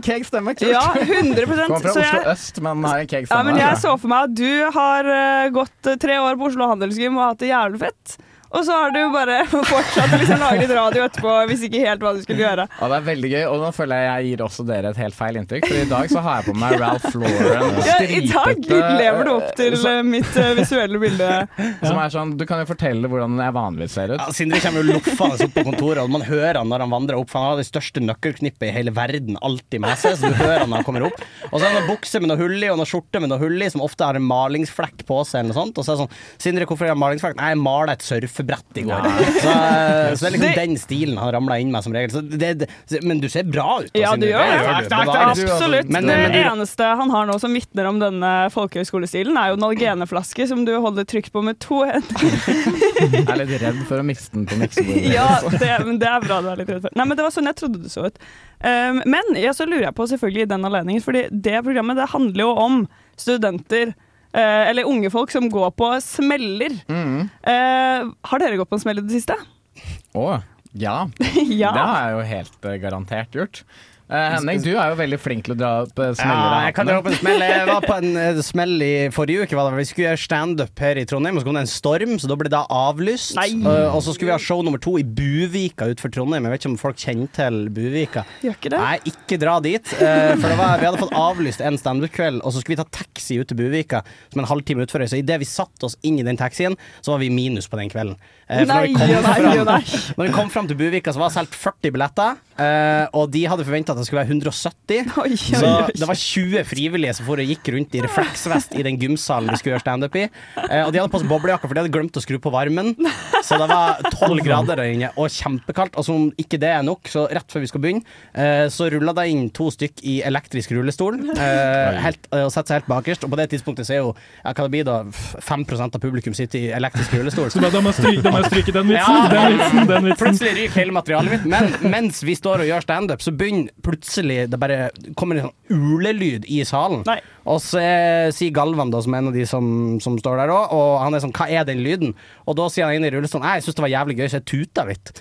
Keg stemmer, kult.
Ja, 100
Kommer fra
så jeg-
Oslo øst, men har en keg
Ja,
stemmer.
men jeg så for meg at du har eh, gått eh, tre år på Oslo Handelsgym og hatt det jævlig fett. Og så har du bare fortsatt å liksom lage litt radio etterpå, hvis ikke helt hva du skulle gjøre.
Ja, det er veldig gøy, og nå føler jeg jeg gir også dere et helt feil inntrykk. For i dag så har jeg på meg Ralph Lauren.
Ja, I dag
stripete,
lever du opp til
så-
eh, mitt eh, visuelle bilde.
Som er sånn, du kan jo fortelle hvordan jeg vanligvis ser ut.
Ja, Sindre kommer jo loffende opp på kontoret, og man hører han når han vandrer opp. For han har det største nøkkelknippet i hele verden alltid med seg, så du hører han når han kommer opp. Og så har han noen bukser med noe hull i, og noen skjorte med noe hull i, som ofte har en malingsflekk på seg, eller noe sånt. Og så er det sånn Sindre, hvorfor har jeg malingsflekk? Nei, jeg malet et surfebrett i går. Så, så det er liksom den stilen han ramla inn med som regel. Så det, det, men du ser bra ut. da,
Ja, du
Sindre.
gjør det.
Det gjør du. Bevares.
Absolutt.
Men- eh,
det
men du-
eneste han har nå som vitner om denne folkehøyskolestilen, er jo en algeneflaske som du holder trygt på med to hender.
Jeg er litt redd for å miste den på miksebordet.
Ja, det, men det er bra du er litt redd for. Nei, men det var sånn jeg trodde du så ut. Um, men ja, så lurer jeg på selvfølgelig i den anledningen, fordi det programmet det handler jo om studenter, eh, eller unge folk som går på smeller.
Mm.
Eh, har dere gått på en smell i det siste?
Å, ja.
Ja.
Det har jeg jo helt eh, garantert gjort. Eh, Henning, du er jo veldig flink til å dra opp eh, smeller.
Ja, jeg kan dra opp en smell. Jeg var på en eh, smell i forrige uke. Var det. vel. Vi skulle gjøre standup her i Trondheim, og så kom det en storm, så da ble det avlyst.
Nei.
Eh, og så skulle vi ha show nummer to i Buvika utenfor Trondheim. Jeg vet ikke om folk kjenner til Buvika.
Gjør ikke det?
Nei, ikke dra dit. eh, for det var, vi hadde fått avlyst en standup-kveld, og så skulle vi ta taxi ut til Buvika som en halvtime utfor øya. Så idet vi satte oss inn i den taxien, så var vi i minus på den kvelden. Eh, for når vi
Nei,
kom
ja, nei,
fram-
ja, nei.
når vi kom fram til Buvika, så var det solgt 40 billetter, eh, og de hadde forventa at det skulle være 170.
Oi, oi,
Så
oi.
det var 20 frivillige som for og gikk rundt i refleksvest i den gymsalen vi skulle gjøre standup i. Eh, og de hadde på seg boblejakker, for de hadde glemt å skru på varmen. Så det var 12 grader der inne, og kjempekaldt. Og som ikke det er nok, så rett før vi skal begynne, eh, så rulla det inn to stykk i elektrisk rullestol. Eh, helt, eh, og setter seg helt bakerst, og på det tidspunktet så er jo ja, hva det blir da, 5 av publikum sitter i elektrisk rullestol.
Så da, da må jeg stryke, da må jeg stryke den vitsen.
Ja.
Den vitsen, den vitsen.
Plutselig ryker hele materialet mitt. Men mens vi står og gjør standup, så begynner plutselig det bare kommer en sånn ulelyd i salen. Og så eh, sier Galvan, da, som er en av de som, som står der òg, og han er sånn 'hva er den lyden?' Og da sier han inn i rullestolen 'nei, jeg syns det var jævlig gøy, så jeg tuta litt'.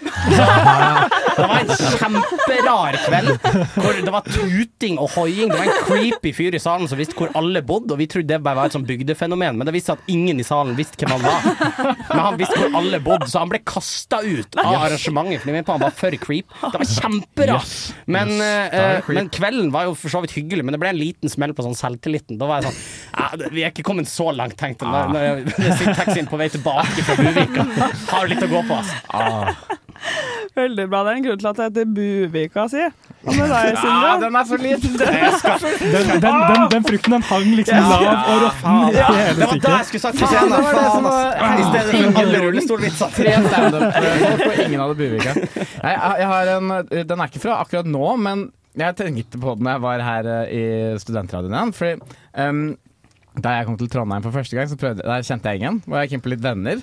Det var en kjemperar kveld hvor det var tuting og hoiing. Det var en creepy fyr i salen som visste hvor alle bodde, og vi trodde det bare var et sånn bygdefenomen, men det viste seg at ingen i salen visste hvem han var. Men han visste hvor alle bodde, så han ble kasta ut av arrangementet, for de mente han var for creep. Det var kjemperart.
Yes.
Men,
Yes,
eh,
det er creep.
men kvelden var jo for så vidt hyggelig, men det ble en liten smell på sånn selvtilliten. Da var jeg sånn "Ja, det- Vi er ikke kommet så langt, tenkte jeg. Når- Når jeg- når jeg sitter i taxien på vei tilbake fra Buvika. Har litt å gå på, altså.
Veldig bra. Det er en grunn til at det heter Buvika, si. Hva med deg, Sindre?
Ah, den er så liten!
Jeg skal
Den, den, den, den frukten den hang
Ja.
liksom lav og råtten i
Ja, det var
hele
det jeg
stykket.
skulle sagt. Faen,
det var det som var-
I stedet for alle rullestolvitser.
Tre standup-folk, og ingen hadde Buvika. Jeg, jeg har en, den er ikke fra akkurat nå, men jeg tenkte på den da jeg var her eh, i studentradioen igjen. Fordi em, da jeg kom til Trondheim for første gang, så prøvde, der kjente jeg ingen. Og jeg kjente på litt venner.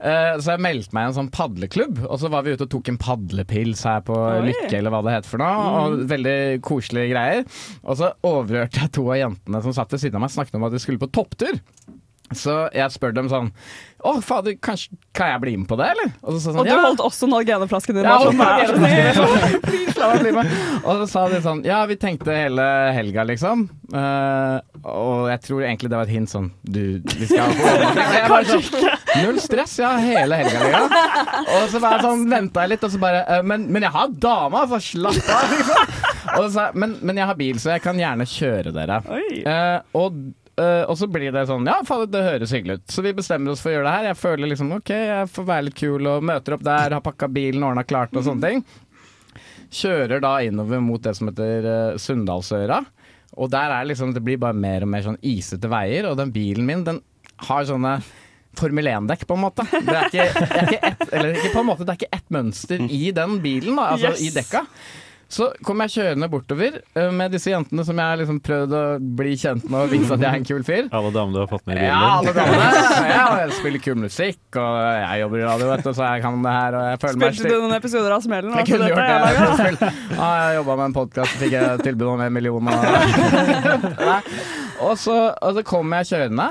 Eh, så jeg meldte meg i en sånn padleklubb, og så var vi ute og tok en padlepils her på
Oi.
Lykke, eller hva det heter for noe. Og veldig koselige greier. Og så overhørte jeg to av jentene som satt ved siden av meg, snakket om at de skulle på topptur. Så jeg spør dem sånn Å, fader, kanskje, kan jeg bli med på det, eller? Og så sa de
Og
sånn,
du
ja.
holdt også Nalgene-flasken din.
Ja, og
Sånn, vær så snill.
så- Please, la meg bli med. Og så sa de sånn Ja, vi tenkte hele helga, liksom. Eh, og jeg tror egentlig det var et hint sånn Du, vi skal på Jeg bare sånn, Null stress, ja, hele helga, liksom. Og så bare sånn venta jeg litt, og så bare eh, Men, men jeg har dame, altså! Slapp av! Liksom. Og så, sa jeg, men, men jeg har bil, så jeg kan gjerne kjøre dere. Eh, og
eh, og så blir det sånn Ja, faen, det høres hyggelig ut. Så vi bestemmer oss for å gjøre det her. Jeg føler liksom OK, jeg får være litt kul og møter opp der, har pakka bilen, ordna klart og sånne ting. Kjører da innover mot det som heter eh, Sunndalsøra. Og der er liksom, det blir bare mer og mer sånn isete veier, og den bilen min den har sånne Formel 1-dekk, på en måte. Det er ikke, det er ikke ett, eller ikke på en måte, det er ikke ett mønster i den bilen, da, altså
Yes.
i dekka. Så kom jeg kjørende bortover eh, med disse jentene som jeg har liksom prøvd å bli kjent med og vise at jeg er en kul fyr.
Alle damene du har fått med i bilen
Ja, alle
din.
damene. Ja, og jeg spiller kul musikk, og jeg jobber i radio, vet du, så jeg kan det her. Og jeg føler meg
Spilte du noen episoder av Smellen? altså?
jeg kunne gjort det. Jeg, spill. ja, jeg jobba med en podkast, fikk jeg tilbud om en million. Og, Nei. og, så, og så kommer jeg kjørende,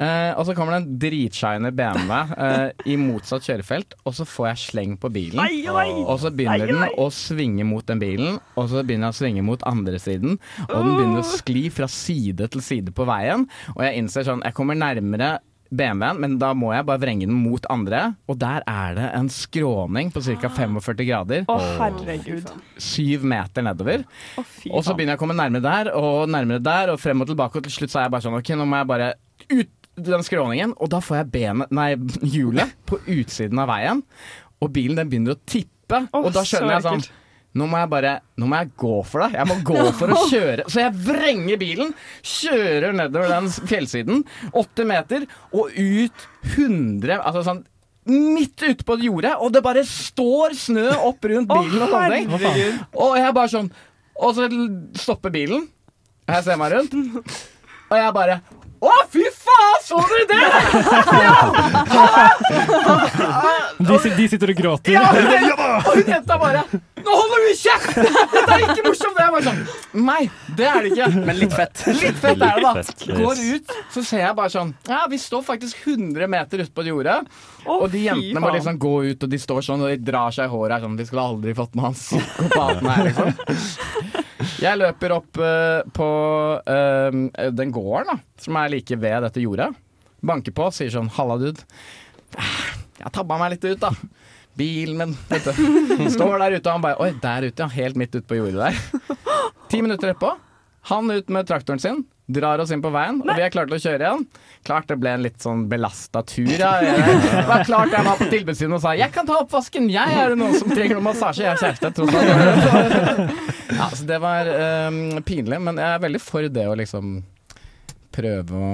eh, og så kommer det en dritshiny BMW eh, i motsatt kjørefelt, og så får jeg sleng på bilen.
Ai, ai.
Og så begynner
Ai,
den
ai.
å svinge mot den bilen, og så begynner jeg å svinge mot andre siden, og den begynner å skli fra side til side på veien, og jeg innser sånn, jeg kommer nærmere BMW-en, men da må jeg bare vrenge den mot andre, og der er det en skråning på ca. 45 grader.
Å, herregud.
Syv meter nedover. og så
faen.
begynner jeg å komme nærmere der, og nærmere der, og frem og tilbake, og til slutt så er jeg bare sånn, ok, nå må jeg bare ut den skråningen, og da får jeg benet, nei, hjulet på utsiden av veien, og bilen den begynner å tippe, og da skjønner
så
jeg sånn,
ekkelt.
nå må jeg bare Nå må jeg gå for det. Jeg må gå for å kjøre. Så jeg vrenger bilen, kjører nedover den fjellsiden, 80 meter, og ut 100 Altså sånn Midt ute på jordet, og det bare står snø opp rundt bilen. og sånne ting.
herregud.
Og jeg bare sånn Og så stopper bilen. Jeg ser meg rundt, og jeg bare Å, fy faen, så dere det?!
De, sit- de sitter og gråter.
Ja, og hun jenta bare Nå holder du kjeft! Dette er ikke morsomt! Og jeg bare sånn Nei, det er det ikke.
Men litt fett.
Litt fett er det,
Litt
da.
fett,
Går
yes.
ut, så ser jeg bare sånn Ja, vi står faktisk 100 meter ute på jordet. og de jentene må
faen.
liksom gå ut, og de står sånn, og de drar seg i håret her sånn Vi skulle aldri fått med han psykopaten her, liksom. Jeg løper opp eh, på eh, den gården da, som er like ved dette jordet. Banker på, sier sånn 'halla, dude'. Ah, Jeg tabba meg litt ut, da. Bilen min, vet du. Står der ute, og han bare 'oi, der ute', ja. Helt midt ute på jordet der. Ti minutter etterpå, han ut med traktoren sin. Drar oss inn på veien, og vi er klare til å kjøre igjen. Klart det ble en litt sånn belasta tur. Ja. Det var klart jeg var på tilbudssiden og sa 'jeg kan ta oppvasken, jeg'. Er det noen som trenger noe massasje? Jeg har kjæreste, tross alt. Ja, så det var ehm, pinlig, men jeg er veldig for det å liksom prøve å,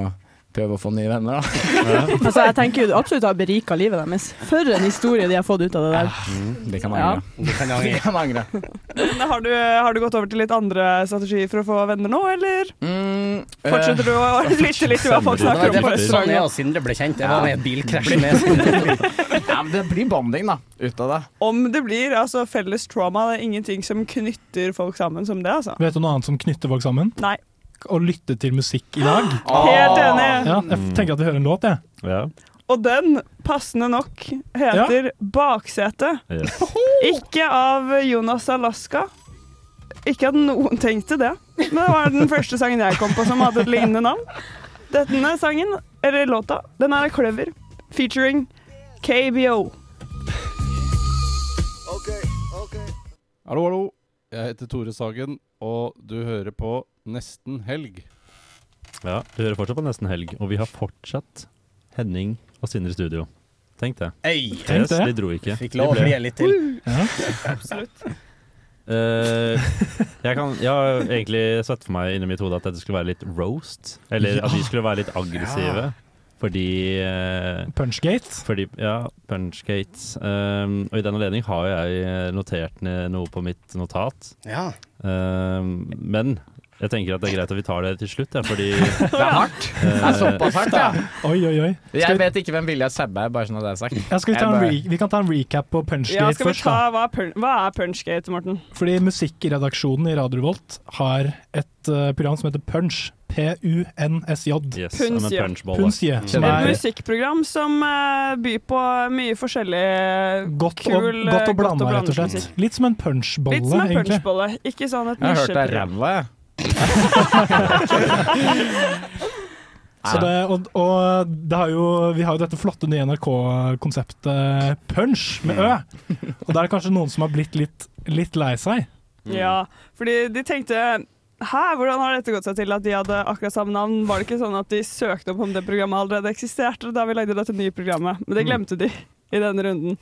prøve å få nye venner, da.
Altså, jeg tenker jo du absolutt har berika livet deres. For en historie de har fått ut av det der.
Mm, De kan
Ja.
angre. De kan angre.
Men har, du, har du gått over til litt andre strategier for å få venner nå, eller? Fortsetter du å
Mm, eh,
lytte litt til hva folk
Det var
snakker om? på
derfor sånn jeg og
restauranten?
Sindre ble kjent. Jeg var med i et bilkrasj
Blir-
med
ja, men det blir bonding, da, ut av det.
Om det blir altså, felles trauma, det er ingenting som knytter folk sammen som det, altså.
Vet du noe annet som knytter folk sammen?
Nei.
Å lytte til musikk i lag.
Helt
Ah.
enig.
Ja, jeg tenker at vi hører en låt, jeg.
Og den, passende nok, heter Baksete. Ikke av Jonas Alaska. Ikke at noen tenkte det, men det var den første sangen jeg kom på som hadde et lignende navn. Denne sangen, eller låta, den er Clever, featuring KBO.
Hallo, hallo. Jeg heter Tore Sagen, og du hører på Nesten Helg.
Ja, Du hører fortsatt på Nesten Helg, og vi har fortsatt Henning og Sindre i studio. Tenk det.
Ei,
yes, De dro ikke.
Fikk lov å
De ble.
frie litt til.
Absolutt.
Eh, jeg, kan, jeg har egentlig sett for meg inni mitt hode at dette skulle være litt roast. Eller at vi skulle være litt aggressive.
Ja.
Fordi eh,
Punchgate.
Fordi, ja, Punchgate. Um, og i den anledning har jeg eh, notert ned noe på mitt notat.
Ja.
Um, men jeg tenker at det er greit at vi tar det til slutt, ja, fordi Eh, Det
er hardt. Det er såpass hardt, ja.
Oi, oi, oi. Skal
Jeg
vi,
vet ikke hvem Vilja Sæbbe er, bare sånn at det er sagt.
ja, skal vi, ta
Jeg
en
bare-
re vi kan ta en recap på
Ja,
Punchgate
skal vi
først,
ta
da.
hva er, pun hva er punchgate, Morten?
Fordi musikkredaksjonen i Radio Revolt har et eh, program som heter Punch. P-U-N-S-J.
Yes,
Punch, I'm a ja. punchball,
Punchje.
Et
Som er
musikkprogram som eh, byr på mye forskjellig
godt,
kul
og,
eh,
godt å blande, rett og
musikk.
slett. Litt som en punchbolle,
Litt som en
egentlig.
punchbolle. Ikke sånn et
Jeg har hørt det er
nisjeprogram.
ræva, jeg.
Så det, og og det har jo, vi har jo dette flotte nye NRK-konseptet Punch med Ø.
Mm.
Og da er det kanskje noen som har blitt litt, litt lei seg.
Ja, fordi de tenkte Hæ, hvordan har dette gått seg til at de hadde akkurat samme navn? Var det ikke sånn at de søkte opp om det programmet allerede eksisterte da vi lagde dette nye programmet? Men det glemte de i denne runden.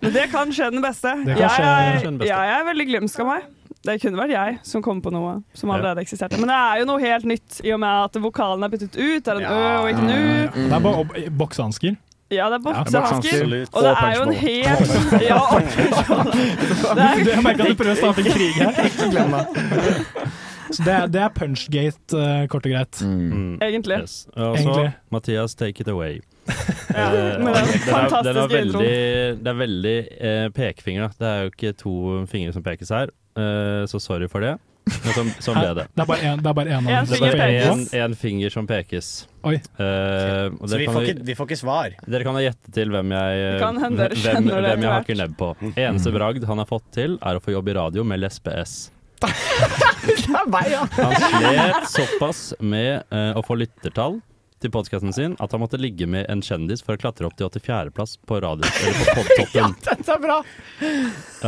Men det kan skje den beste.
Det kan
jeg,
skje-
er-
skje den beste.
jeg er veldig glemsk av meg. Det kunne vært jeg som kom på noe som allerede eksisterte. Men det er jo noe helt nytt i og med at vokalen er byttet ut. Det er en ø og ikke en u.
Mm.
Det er bare ob- boksehansker.
Ja, det er boksehansker.
sånn
Absolutt.
og det er jo en
Og
helt Ja,
Du- Jeg merker at du prøver å starte en krig her.
Ikke glem det.
Så det er, det er punchgate, eh, kort og greit.
Mm.
Egentlig.
Yes. Og så
Egentlig.
Mathias, take it away.
Ja,
Eh,
med den
er- den er
fantastiske introen.
veldig, det er veldig eh, pekefinger. da. Det er jo ikke to fingre som pekes her, eh, så sorry for det. Men sånn så ble det.
Det er bare en- det er bare en av dem.
Det er bare en, en finger som pekes.
Oi.
Eh, og
Så
dere
vi
kan
får,
jo-
ikke, vi får ikke svar.
Dere kan jo gjette til hvem jeg,
Det kan hende dere
hvem,
skjønner det
hvem jeg
etter
hakker nebb på. Eneste bragd han har fått til, er å få jobb i radio med Lesbe-S.
Det er meg, ja!
Han slet såpass med eh, å få lyttertall til podkasten sin at han måtte ligge med en kjendis for å klatre opp til 84.-plass på radio eller på podtoppen.
Dette er bra!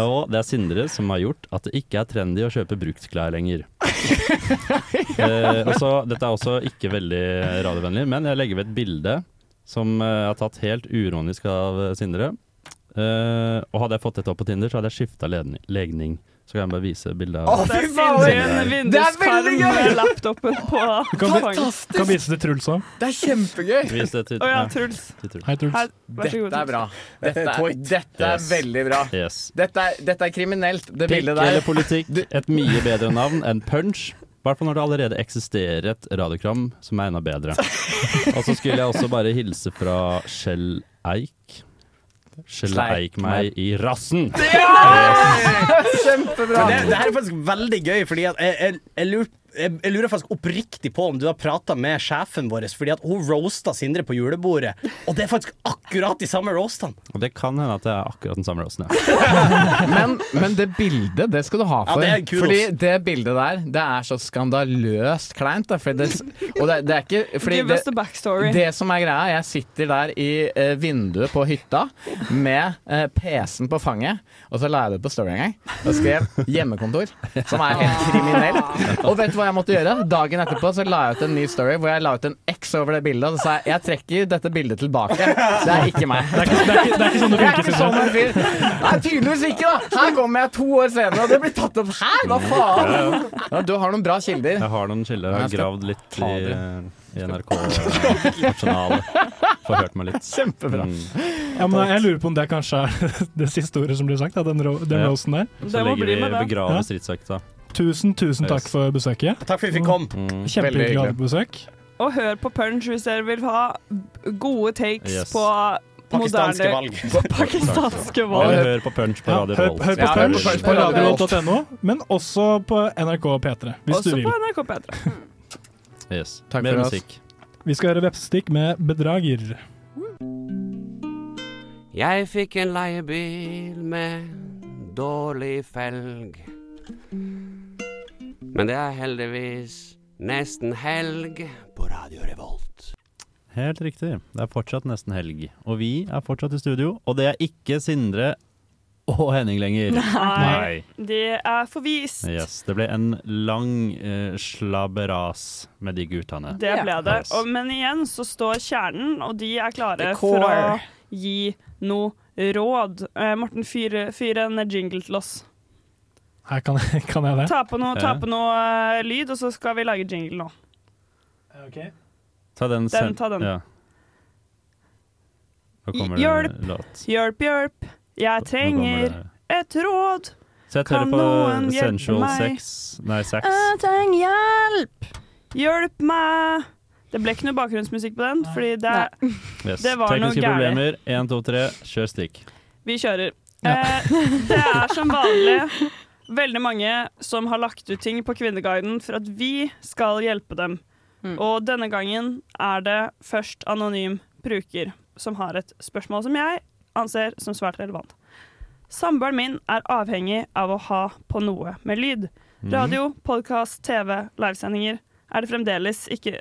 Og det er Sindre som har gjort at det ikke er trendy å kjøpe bruktklær lenger. Eh, og så- dette er også ikke veldig radiovennlig, men jeg legger ved et bilde som eh, jeg har tatt helt uronisk av eh, Sindre. Eh, og hadde jeg fått dette opp på Tinder, så hadde jeg skifta legning. Så kan jeg bare vise bildet.
Å, fy faen! Vinduskarm med laptopen på
Du kan, vi-
fanget.
kan vise det til Truls òg.
Det er kjempegøy!
Vis det til-
Å ja,
nei,
Truls.
til Truls.
Hei, Truls.
Her, vær så god,
Dette er bra. Dette er,
Point.
dette er
Yes.
veldig bra.
Yes.
Dette er, dette er kriminelt, det
Pikk
bildet der.
eller politikk, et mye bedre navn enn punch. I hvert fall når det allerede eksisterer et radiokram som er enda bedre. Og så skulle jeg også bare hilse fra Kjell Eik. Kjell Eik meg i rassen!
Kjempebra!
Men det, det her er faktisk veldig gøy, fordi at jeg, jeg, jeg, lur, jeg, jeg lurer faktisk oppriktig på om du har prata med sjefen vår, fordi at hun roasta Sindre på julebordet, og det er faktisk akkurat de samme roastene.
Og det kan hende at det er akkurat den samme rassen, ja.
Men, men det bildet, det skal du ha
Ja,
for.
det er kudos.
fordi det bildet der, det er så skandaløst kleint. Da, fordi det, og det, det er ikke fordi
Give us the backstory.
Det som er greia, jeg sitter der i eh, vinduet på hytta med eh, PC-en på fanget, og så la jeg det på Story en gang. Og skrev 'hjemmekontor', som er helt kriminelt. Og vet du hva jeg måtte gjøre? Dagen etterpå så la jeg ut en ny story hvor jeg la ut en X over det bildet, og så sa jeg 'jeg trekker dette bildet tilbake'. Det er ikke meg.
Det er ikke- det er ikke- det er ikke sånn det
Jeg
funker,
ikke
Sindre.
sånn en fyr. Nei, tydeligvis ikke, da. Her kommer jeg to år senere, og det blir tatt opp her! Hva faen? Ja, du har noen bra kilder.
Jeg har noen kilder. Jeg har
Jeg skal
gravd litt
ta
i,
det.
i NRK-journalet. Forhørt meg litt. Mm.
Kjempebra.
Ja, men jeg lurer på om det kanskje er det siste ordet som blir sagt, da, den, ro den
Ja.
rosen der.
Så legger vi begraver
Ja.
stridsøkta.
Tusen, tusen takk for besøket.
Takk for at vi fikk komme.
Mm.
Kjempehyggelig å ha deg på besøk.
Og hør på Punch hvis dere vil ha gode takes
Yes.
på
Pakistanske
moderne
valg.
Pakistanske
Eller
valg.
hør på Punch på
Ja,
Radio
hør,
Revolt.
hør på
Ja,
Punch
hør
på
på Radio Revolt.
radio.no, men også på NRK P3, hvis du
Også
vil.
på NRK P3.
Yes.
Takk
Mer
for oss.
musikk.
Vi skal høre Vepsestikk med Bedrager.
Jeg fikk en leiebil med dårlig felg. Men det er heldigvis nesten helg på Radio Revolt.
Helt riktig. Det er fortsatt nesten helg. Og vi er fortsatt i studio, og det er ikke Sindre og Henning lenger.
Nei. De er forvist.
Yes, det ble en lang eh, slabberas med de guttene.
Det ble det.
Yes.
Og, men igjen så står kjernen, og de er klare
The core.
for å gi noe råd. Eh, Morten, fyr, fyr en jingle til oss.
Her kan, kan jeg det.
Ta på noe, ta på noe eh, lyd, og så skal vi lage jingle nå.
Ta den.
Den,
sen-
ta den.
Ja. Nå kommer det
Hjelp.
en låt.
Hjelp, hjelp, jeg trenger
det.
et råd.
Sett
Kan
hører
noen
på
hjelpe
Sensual
meg? Eh,
Sex Nei, Sex.
Jeg trenger hjelp! Hjelp meg! Det ble ikke noe bakgrunnsmusikk på den, fordi det,
Yes.
det var noe
Tekniske
gærent.
problemer. Én, to, tre, kjør stikk.
Vi kjører. Eh, det er som vanlig veldig mange som har lagt ut ting på Kvinneguiden for at vi skal hjelpe dem. Og denne gangen er det først anonym bruker som har et spørsmål som jeg anser som svært relevant. Samboeren min er avhengig av å ha på noe med lyd.
Mhm.
Radio, podkast, TV, livesendinger. Er det fremdeles ikke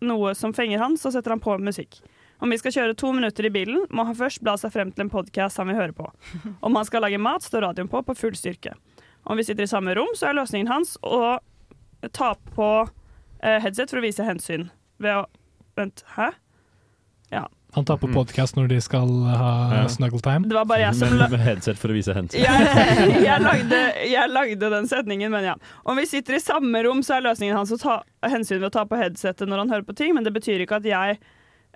noe som fenger han, så setter han på musikk. Om vi skal kjøre to minutter i bilen, må han først bla seg frem til en podkast han vil høre på. Om han skal lage mat, står radioen på på full styrke. Om vi sitter i samme rom, så er løsningen hans å ta på eh, headset for å vise hensyn ved å Vent, hæ? Ja.
Han tar på podkast når de skal ha
Mm. Ja.
snuggle time.
Det var bare jeg som la-
Med headset for å vise hensyn.
Jeg, jeg, lagde, jeg lagde den setningen, men ja. Om vi sitter i samme rom, så er løsningen hans å ta hensyn ved å ta på headsetet når han hører på ting, men det betyr ikke at jeg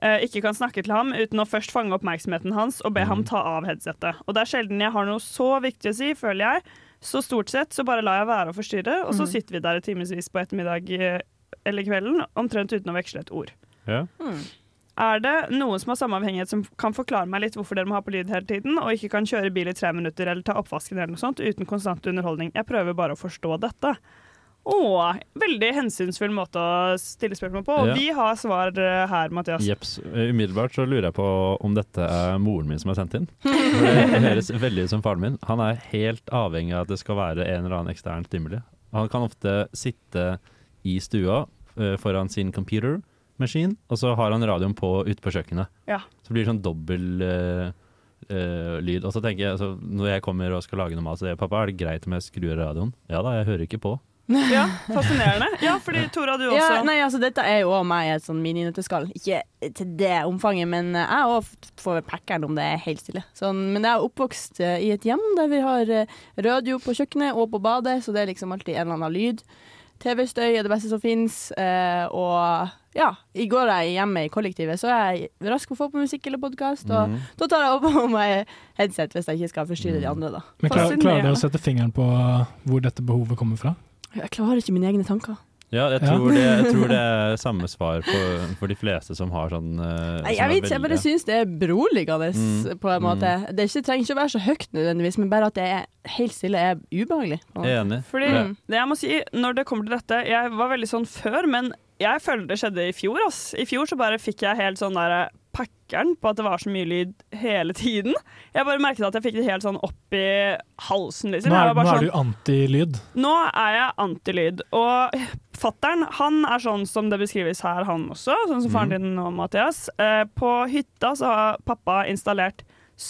eh, ikke kan snakke til ham uten å først fange oppmerksomheten hans og be ham ta av headsetet. Og det er sjelden jeg har noe så viktig å si, føler jeg. Så stort sett så bare lar jeg være å forstyrre, og så
Mm.
sitter vi der i timevis på ettermiddag eh, eller kvelden, omtrent uten å veksle et ord.
Ja.
Er det noen som har samme avhengighet som kan forklare meg litt hvorfor dere må ha på lyd hele tiden, og ikke kan kjøre bil i tre minutter eller ta oppvasken eller noe sånt uten konstant underholdning? Jeg prøver bare å forstå dette. Å, veldig hensynsfull måte å stille spørsmål på. Og
Ja.
vi har svar eh, her, Mathias.
Jeps. eh, Umiddelbart så lurer jeg på om dette er moren min som er sendt inn. For Det høres veldig ut som faren min. Han er helt avhengig av at det skal være en eller annen ekstern stimuli. Han kan ofte sitte i stua eh, foran sin computer maskin, og så har han radioen på ute på kjøkkenet.
Ja.
Så blir det sånn dobbel eh, eh, lyd. Og så tenker jeg, altså, når jeg kommer og skal lage noe mat, så sier jeg pappa, er det greit om jeg skrur av radioen? Ja da, jeg hører ikke på.
Ja, fascinerende. Ja, fordi Tora, du også.
Ja, nei, altså, dette er jo også meg i et sånn mini-nøtteskall. Ikke til det omfanget, men eh, jeg òg får packeren om det er helt stille. Sånn, men jeg er oppvokst eh, i et hjem der vi har eh, radio på kjøkkenet og på badet, så det er liksom alltid en eller annen lyd. TV-støy er det beste som fins, eh, og ja, i går er jeg hjemme i kollektivet, så er jeg rask å få på musikk eller podkast, og
Mhm.
da tar jeg opp på meg headset hvis jeg ikke skal forstyrre de andre, da.
Men klar, klarer dere å sette fingeren på hvor dette behovet kommer fra?
Jeg klarer ikke mine egne tanker.
Ja, jeg
Ja.
tror, Det, jeg tror det er samme svar for, for de fleste som har sånn eh,
Nei,
som er
jeg vet, jeg bare
veldig-
syns det er beroligende,
Mm.
på en måte. Det er ikke, trenger ikke å være så høyt nødvendigvis, men bare at det er helt stille er ubehagelig. på en måte.
Jeg er enig.
Fordi
Ja.
det jeg må si, når det kommer til dette Jeg var veldig sånn før, men jeg føler det skjedde i fjor. Ass. I fjor så bare fikk jeg helt sånn der pakkeren på at det var så mye lyd hele tiden. Jeg bare merket at jeg fikk det helt sånn opp i halsen, liksom.
Nå
Jeg
er,
var
nå
bare
er
sånn-
du antilyd.
nå er jeg antilyd, og fattern han er sånn som det beskrives her, han også, sånn som
Mhm.
faren din og Mathias. Eh, på hytta så har pappa installert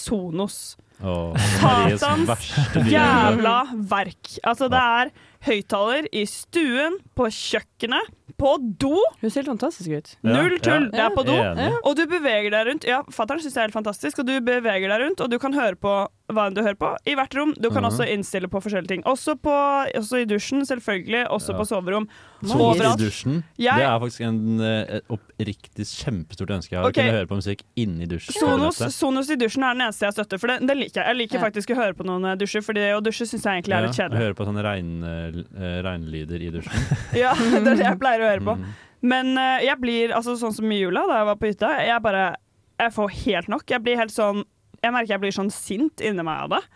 Sonos.
Åh, Maries
Satans
verste dyr.
jævla verk. Altså, det er høyttaler i stuen, på kjøkkenet, på do.
Hun ser helt fantastisk ut.
Ja,
Null tull,
ja.
det er på do.
Enig.
Og du beveger deg rundt. Ja, fatter'n syns det er helt fantastisk, og du beveger deg rundt, og du kan høre på hva enn du hører på i hvert rom. Du kan
Mhm.
også innstille på forskjellige ting. Også, på, også i dusjen, selvfølgelig. Også
Ja.
på soverom.
Sover i
Overalt.
dusjen.
Jeg-
Det er faktisk en, eh, et oppriktig kjempestort ønske jeg har.
Ok.
Å kunne høre på musikk inni dusjen.
Sonos, Sonos i dusjen er den eneste jeg støtter, for det, det liker jeg. Jeg liker faktisk å høre på noen når jeg dusjer, for det å dusje syns jeg egentlig er litt kjedelig.
Høre på sånne regn, eh, regnlyder i dusjen.
Ja, det er det jeg pleier å høre
Mm.
på. Men eh, jeg blir altså sånn som i jula, da jeg var på hytta. Jeg bare Jeg får helt nok. Jeg blir helt sånn Jeg merker jeg blir sånn sint inni meg av det.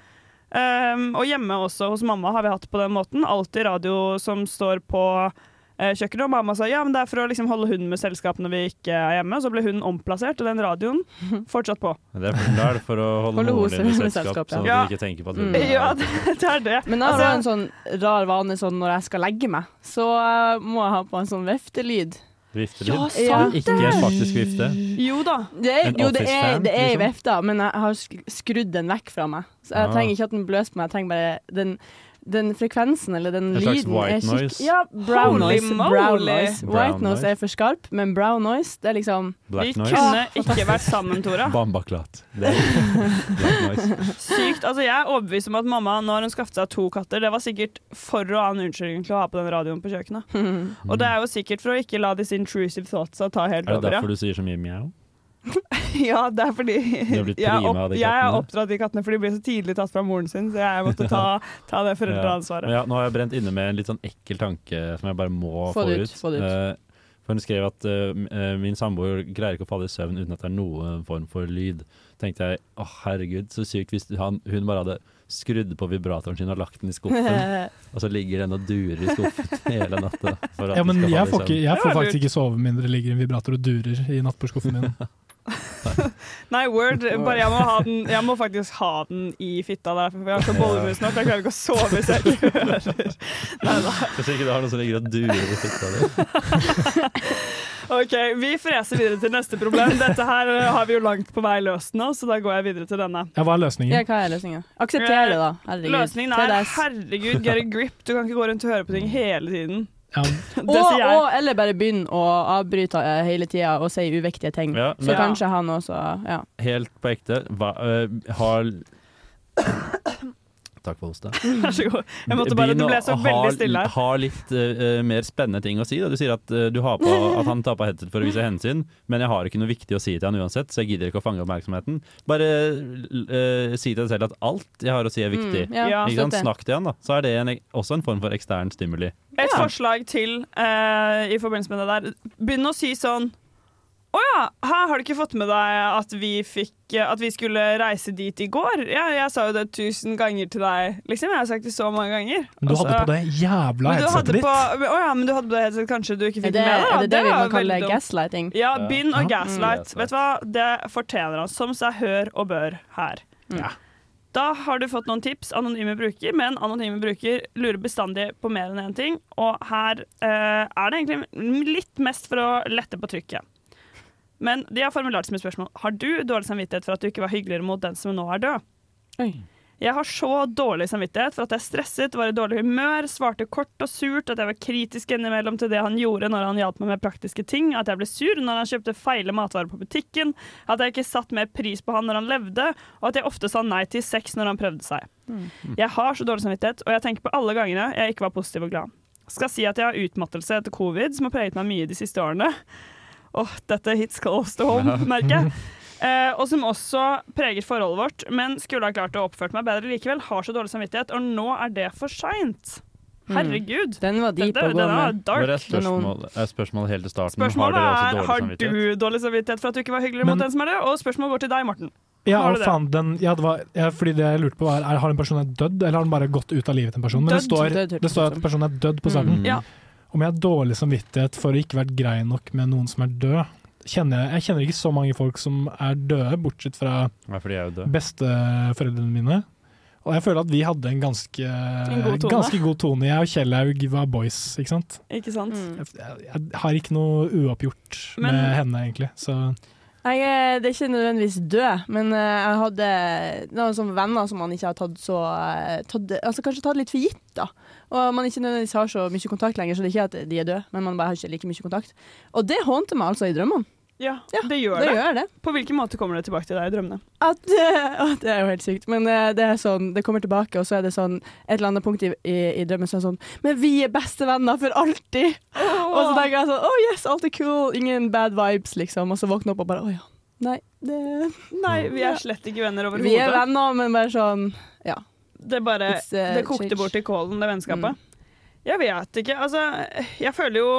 Ehm, og hjemme også hos mamma har vi hatt på den måten. Alltid radio som står på eh, kjøkkenet. Og mamma sa ja, men det er for å liksom holde hunden med selskap når vi ikke er hjemme. Og så ble hunden omplassert, og den radioen fortsatt på.
Men Det er for, da er det for å holde,
Holde
moren din i
hosen i
selskap,
selskap, ja.
sånn at
Ja.
du ikke tenker på at
Mm.
hun er
Ja, det, det er det.
Men jeg har
Altså,
også en sånn rar vane sånn når jeg skal legge meg, så eh, må jeg ha på en sånn veftelyd.
viftelyd.
Ja, sant det!
Ikke en faktisk vifte.
Jo da.
Det er,
En
jo, det er,
Office-fan,
det er i
liksom?
vefta, men jeg har sk- skrudd den vekk fra meg. Så jeg
Ah.
trenger ikke at den bløser på meg, jeg trenger bare den, den frekvensen eller den
En slags
lyden.
white
er skikk-
noise?
Ja, brown
Holy
noise.
moly!
Brown noise.
Brown
White noise
noise.
er for skarp, men brown noise, det er liksom
Black
vi
noise.
kunne ikke vært sammen, Tora.
Bambaklat. Det er black noise.
Sykt. Altså, jeg er overbevist om at mamma, når hun skaffet seg to katter, det var sikkert for å ha en unnskyldning til å ha på den radioen på kjøkkenet.
Mm.
Og det er jo sikkert for å ikke la disse intrusive thoughtsa ta helt
Er det
over.
derfor du sier så mye mjau?
Ja. ja, det er fordi
har blitt
jeg er,
prima av
opp,
de
jeg er
kattene.
oppdratt de kattene, for de ble så tidlig tatt fra moren sin, så jeg måtte ta, ta det
Ja.
foreldreansvaret.
Ja, nå har jeg brent inne med en litt sånn ekkel tanke som jeg bare må
Få
få,
det ut,
ut.
få det ut.
Eh, for hun skrev at eh, m- eh, min samboer greier ikke å falle i søvn uten at det er noen form for lyd. tenkte jeg å herregud, så sykt hvis han, hun bare hadde skrudd på vibratoren sin og lagt den i skuffen, og så ligger den og durer i skuffen hele natta. for at
Ja,
den
men
skal
jeg
falle i
får, ikke,
søvn.
jeg får faktisk ikke sove mindre det ligger en vibrator og durer i nattbordskuffen min.
Nei, word. Bare jeg må, ha den, jeg må faktisk ha den i fitta der, for jeg har så bollemus nå at jeg klarer ikke å sove hvis jeg ikke hører. Neida.
Hvis ikke du har noe som ligger og durer i fitta di.
Ok, vi freser videre til neste problem. Dette her eh, har vi jo langt på vei løst nå, så da går jeg videre til denne.
Ja, hva er løsningen?
Ja, hva er løsningen? Aksepter det, da. Herregud.
Løsningen er
TDS.
herregud, get a grip. Du kan ikke gå rundt og høre på ting hele tiden.
Ja.
Og, og, eller bare begynn å avbryte eh, hele tida og si uviktige ting.
Ja,
så
men-
kanskje han også ja.
Helt på ekte, hva, øh, har Takk for hoste.
Vær så god. Jeg måtte bare,
Begynn
det ble
å
så
ha-
veldig stille her.
Ha litt øh, mer spennende ting å si. Da. Du sier at, øh, du har på, at han tar på headset for å vise hensyn, men jeg har ikke noe viktig å si til han uansett, så jeg gidder ikke å fange oppmerksomheten. Bare øh, si til deg selv at alt jeg har å si er viktig.
Mm, ja,
ikke sant?
støtter.
Snakk til han, da. Så er det en, også en form for ekstern stimuli.
Et forslag til eh, i forbindelse med det der. Begynn å si sånn Å ja, hæ, har du ikke fått med deg at vi fikk eh, At vi skulle reise dit i går? Ja, jeg sa jo det tusen ganger til deg, liksom. Jeg har sagt det så mange ganger.
Men du hadde
Altså-
på det jævla
Men du hadde
headsetet ditt.
på, Å ja, men du hadde på det headset kanskje du ikke
Er
fikk
det-
med deg. da.
er det det vi
var
kan kalle
veldig dumt.
gaslighting?
Ja,
Ja.
begynn å
Ja.
gaslight.
Mm.
Vet du hva, det fortjener han. Som seg hør og bør her. Da har du fått noen tips, anonyme bruker, men anonyme bruker lurer bestandig på mer enn én ting, og her eh, er det egentlig litt mest for å lette på trykket. Men de har formulert som et spørsmål. Har du dårlig samvittighet for at du ikke var hyggeligere mot den som nå er død? Jeg har så dårlig samvittighet for at jeg stresset, var i dårlig humør, svarte kort og surt, at jeg var kritisk innimellom til det han gjorde når han hjalp meg med praktiske ting, at jeg ble sur når han kjøpte feile matvarer på butikken, at jeg ikke satt mer pris på han når han levde, og at jeg ofte sa nei til sex når han prøvde seg. Jeg har så dårlig samvittighet, og jeg tenker på alle gangene jeg ikke var positiv og glad. Skal si at jeg har utmattelse etter covid, som har preget meg mye de siste årene. Åh, dette hits close to home, merker jeg. Eh, og som også preger forholdet vårt, men skulle ha klart å oppført meg bedre likevel. Har så dårlig samvittighet, og nå er det for seint.
Mm.
Herregud.
Den var
deep
å gå med.
Dark.
Bare et spørsmål, et spørsmål helt til starten.
Spørsmålet
har
er
dere også
har
dårlig
du
samvittighet?
dårlig samvittighet for at du ikke var hyggelig mot
Men-
den som er død, og spørsmålet går til deg, Morten.
Ja,
Har
og
du det?
faen, den, ja, det var, ja, fordi det jeg lurte på var, er, Har en person er dødd, eller har den bare gått ut av livet til en person? Men det
Dødd.
står,
Dødd, hørte
det står
jeg
at
som.
personen er dødd på starten.
Mm. Ja.
Om jeg har dårlig samvittighet for å ikke vært grei nok med noen som er død kjenner jeg, jeg kjenner ikke så mange folk som er døde, bortsett fra
Nei, for de er jo døde.
besteforeldrene mine. Og jeg føler at vi hadde en ganske,
god tone.
ganske god tone. Jeg og Kjellaug var boys, ikke sant?
Ikke sant?
Mm.
Jeg har ikke noe uoppgjort
Men-
med henne, egentlig. Så
Jeg eh, det er ikke nødvendigvis død, men eh, jeg hadde noen sånne venner som man ikke har tatt så eh, tatt, Altså kanskje tatt litt for gitt, da. Og man ikke nødvendigvis har så mye kontakt lenger, så det er ikke at de er døde, men man bare har ikke like mye kontakt. Og det hånte meg altså i drømmene.
Ja, det gjør
det
det.
gjør
På hvilken måte kommer det tilbake til deg i drømmene?
At, eh, å, det er jo helt sykt, men eh, det er sånn, det kommer tilbake, og så er det sånn et eller annet punkt i, i, i drømmen som er sånn Men vi er bestevenner for alltid! Og
Altså,
så tenker jeg sånn Oh yes, alt er cool, ingen bad vibes, liksom. Og så våkner jeg opp og bare Å ja. Nei, det
Nei, vi er slett ikke venner overhodet.
Vi er venner, men bare sånn Ja.
Det bare
It's, uh,
Det kokte
change. Mm.
bort i kålen, det vennskapet. Jeg vet ikke. Altså, jeg føler jo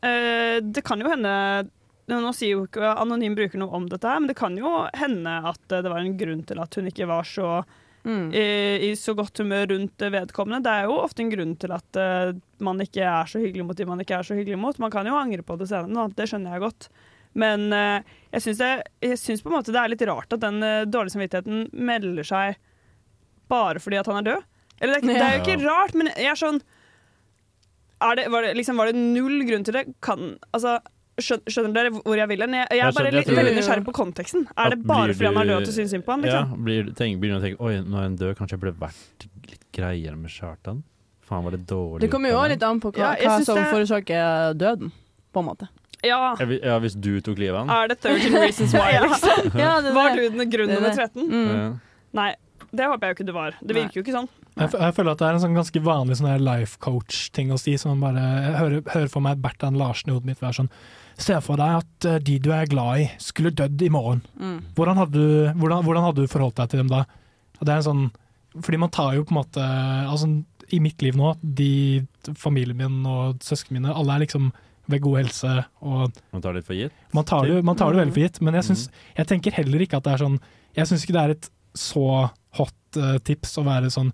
eh, Det kan jo hende Nå sier jo ikke anonym bruker noe om dette, her, men det kan jo hende at eh, det var en grunn til at hun ikke var så
Mm.
eh, i så godt humør rundt eh, vedkommende. Det er jo ofte en grunn til at eh, man ikke er så hyggelig mot de man ikke er så hyggelig mot. Man kan jo angre på det senere, da. det skjønner jeg godt. Men eh, jeg syns det- jeg syns på en måte det er litt rart at den eh, dårlige samvittigheten melder seg bare fordi at han er død? Eller det er, ikke, det er jo ikke
Ja.
rart, men jeg er sånn er det, var, det, liksom, var det null grunn til det? Kan, altså, skjøn- skjønner dere hvor jeg vil hen? Jeg, jeg
Jeg
er bare
skjønner, jeg
litt
tror-
veldig nysgjerrig på konteksten. Er det
At
bare
blir
fordi han er
du-
død at du syns synd på han? Liksom?
Ja, blir, tenk, begynner å tenke Oi, nå er han død, kanskje jeg burde vært litt greiere med Kjartan? Faen, var det dårlig
Det kommer jo
gjort av
også
meg?»
litt an på hva,
Ja, jeg
hva
synes
som
det-
forårsaker døden, på en måte.
Ja.
Jeg vil- Ja, hvis du tok livet av han?
Er det 13 Reasons Why,
Sånn. Ja.
liksom?
Ja, det er
var du
det.
den grunn
Det er
nummer
det.
13?
Mm.
Nei, det håper jeg jo ikke du var. Det virker jo ikke sånn.
jeg, f- jeg føler at det er en sånn ganske vanlig sånn her life coach-ting å si. Som man bare, jeg hører, hører for meg Bertan Larsen i hodet mitt være sånn Se for deg at eh, de du er glad i, skulle dødd i morgen.
Mm.
Hvordan, hadde du, hvordan, hvordan hadde du forholdt deg til dem da? Og Det er en sånn, fordi man tar jo på en måte altså, I mitt liv nå, de, familien min og søsknene mine, alle er liksom ved god helse. og
Man tar litt for gitt?
Man tar det, man tar det veldig for gitt, men jeg, syns- jeg tenker heller ikke at det er sånn Jeg syns ikke det er et så hot eh, tips å være sånn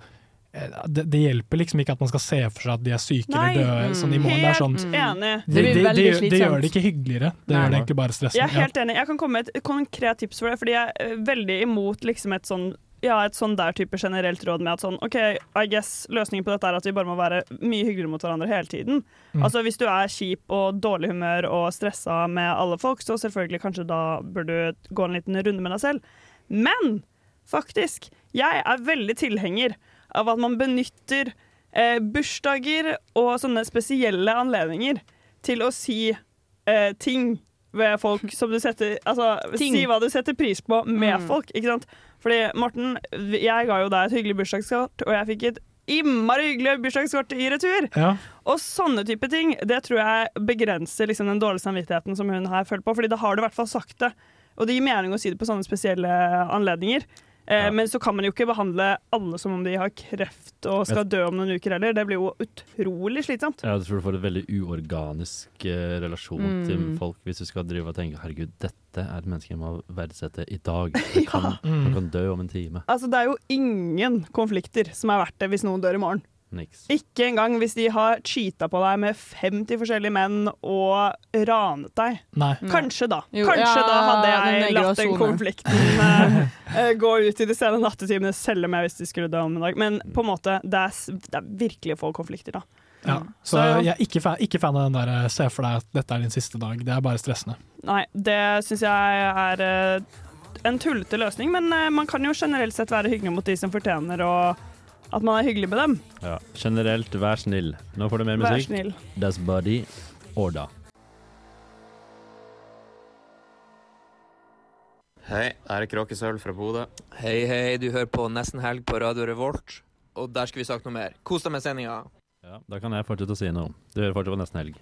eh, det, det hjelper liksom ikke at man skal se for seg at de er syke eller døde sånn i morgen. Det er sånn,
Mm.
Mm.
helt enig.
de, de, de, de, de gjør det ikke hyggeligere, det
Nei.
gjør det egentlig bare stressende.
Jeg er helt enig. Jeg kan komme med et konkret tips for det, fordi jeg er veldig imot liksom et sånn ja, et sånn der type generelt råd med at sånn OK, I guess løsningen på dette er at vi bare må være mye hyggeligere mot hverandre hele tiden.
Mm.
Altså hvis du er kjip og dårlig humør og stressa med alle folk, så selvfølgelig kanskje da bør du gå en liten runde med deg selv. Men faktisk, jeg er veldig tilhenger av at man benytter eh, bursdager og sånne spesielle anledninger til å si eh, ting ved folk som du setter Altså
Ting.
si hva du setter pris på med
Mm.
folk, ikke sant? Fordi Morten, jeg ga jo deg et hyggelig bursdagskort, og jeg fikk et innmari hyggelig bursdagskort i retur.
Ja.
Og sånne type ting, det tror jeg begrenser liksom den dårlige samvittigheten som hun her føler på, fordi da har du i hvert fall sagt det. Og det gir mening å si det på sånne spesielle anledninger. Eh, Men så kan man jo ikke behandle alle som om de har kreft og skal dø om noen uker heller. Det blir jo utrolig slitsomt.
Jeg tror du får et veldig uorganisk eh, relasjon
Mm.
til folk hvis du skal drive og tenke herregud, dette er et menneske jeg må verdsette i dag. Det kan, Man kan dø om en time.
Altså, det er jo ingen konflikter som er verdt det hvis noen dør i morgen.
Niks.
Ikke engang hvis de har cheata på deg med 50 forskjellige menn og ranet deg.
Nei.
Kanskje da.
Mm. Jo,
Kanskje
ja,
da hadde
den
jeg
der grå
latt den
sone.
konflikten eh, eh, gå ut i de sene nattetimene, selv om jeg visste de skulle dø om en dag. Men på en måte, det er, s- det er virkelig få konflikter da.
Ja. Så jeg er ikke fan, ikke fan av den der eh, 'se for deg at dette er din siste dag'. Det er bare stressende.
Nei, det syns jeg er eh, en tullete løsning, men eh, man kan jo generelt sett være hyggelig mot de som fortjener og at man er hyggelig med dem.
Ja. Generelt, vær snill. Nå får du mer
Vær
musikk.
snill.
Das Buddy Orda.
Hei, her er Kråkesølv fra Bodø. Hei, hei, du hører på Nesten Helg på Radio Revolt. Og der skulle vi sagt noe mer. Kos deg med sendinga.
Ja, da kan jeg fortsette å si noe. Du hører fortsatt på Nesten Helg.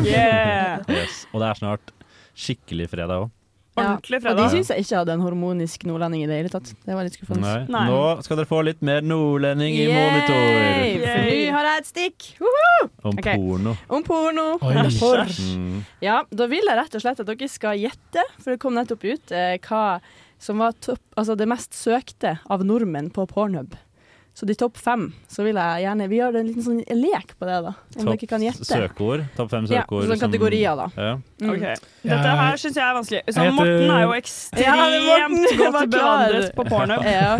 Yeah!
yes. Og det er snart skikkelig fredag òg.
Ordentlig
Og de
fredag.
syns jeg ikke hadde en hormonisk nordlending i det hele tatt. Det var litt skuffende.
Nei. Nå skal dere få litt mer nordlending i monitor.
Yay! For nå har jeg et stikk! Woho!
Om
Ok.
porno.
Om porno. Eller porr.
Mm.
Ja, da vil jeg rett og slett at dere skal gjette, for det kom nettopp ut, eh, hva som var topp, altså det mest søkte av nordmenn på Pornhub. Så de topp fem, så vil jeg gjerne Vi gjør en liten sånn lek på det, da. Om
Topp
dere kan gjette.
søkeord. Topp fem
Ja,
søkeord.
sånne
som-
kategorier, da.
Ja.
Mm.
Ok. Dette her syns jeg er vanskelig.
Jeg
Så
heter-
Morten er jo
Ja, Morten,
ekstremt
jeg var
godt
klar.
bevandret på porno.
Ja.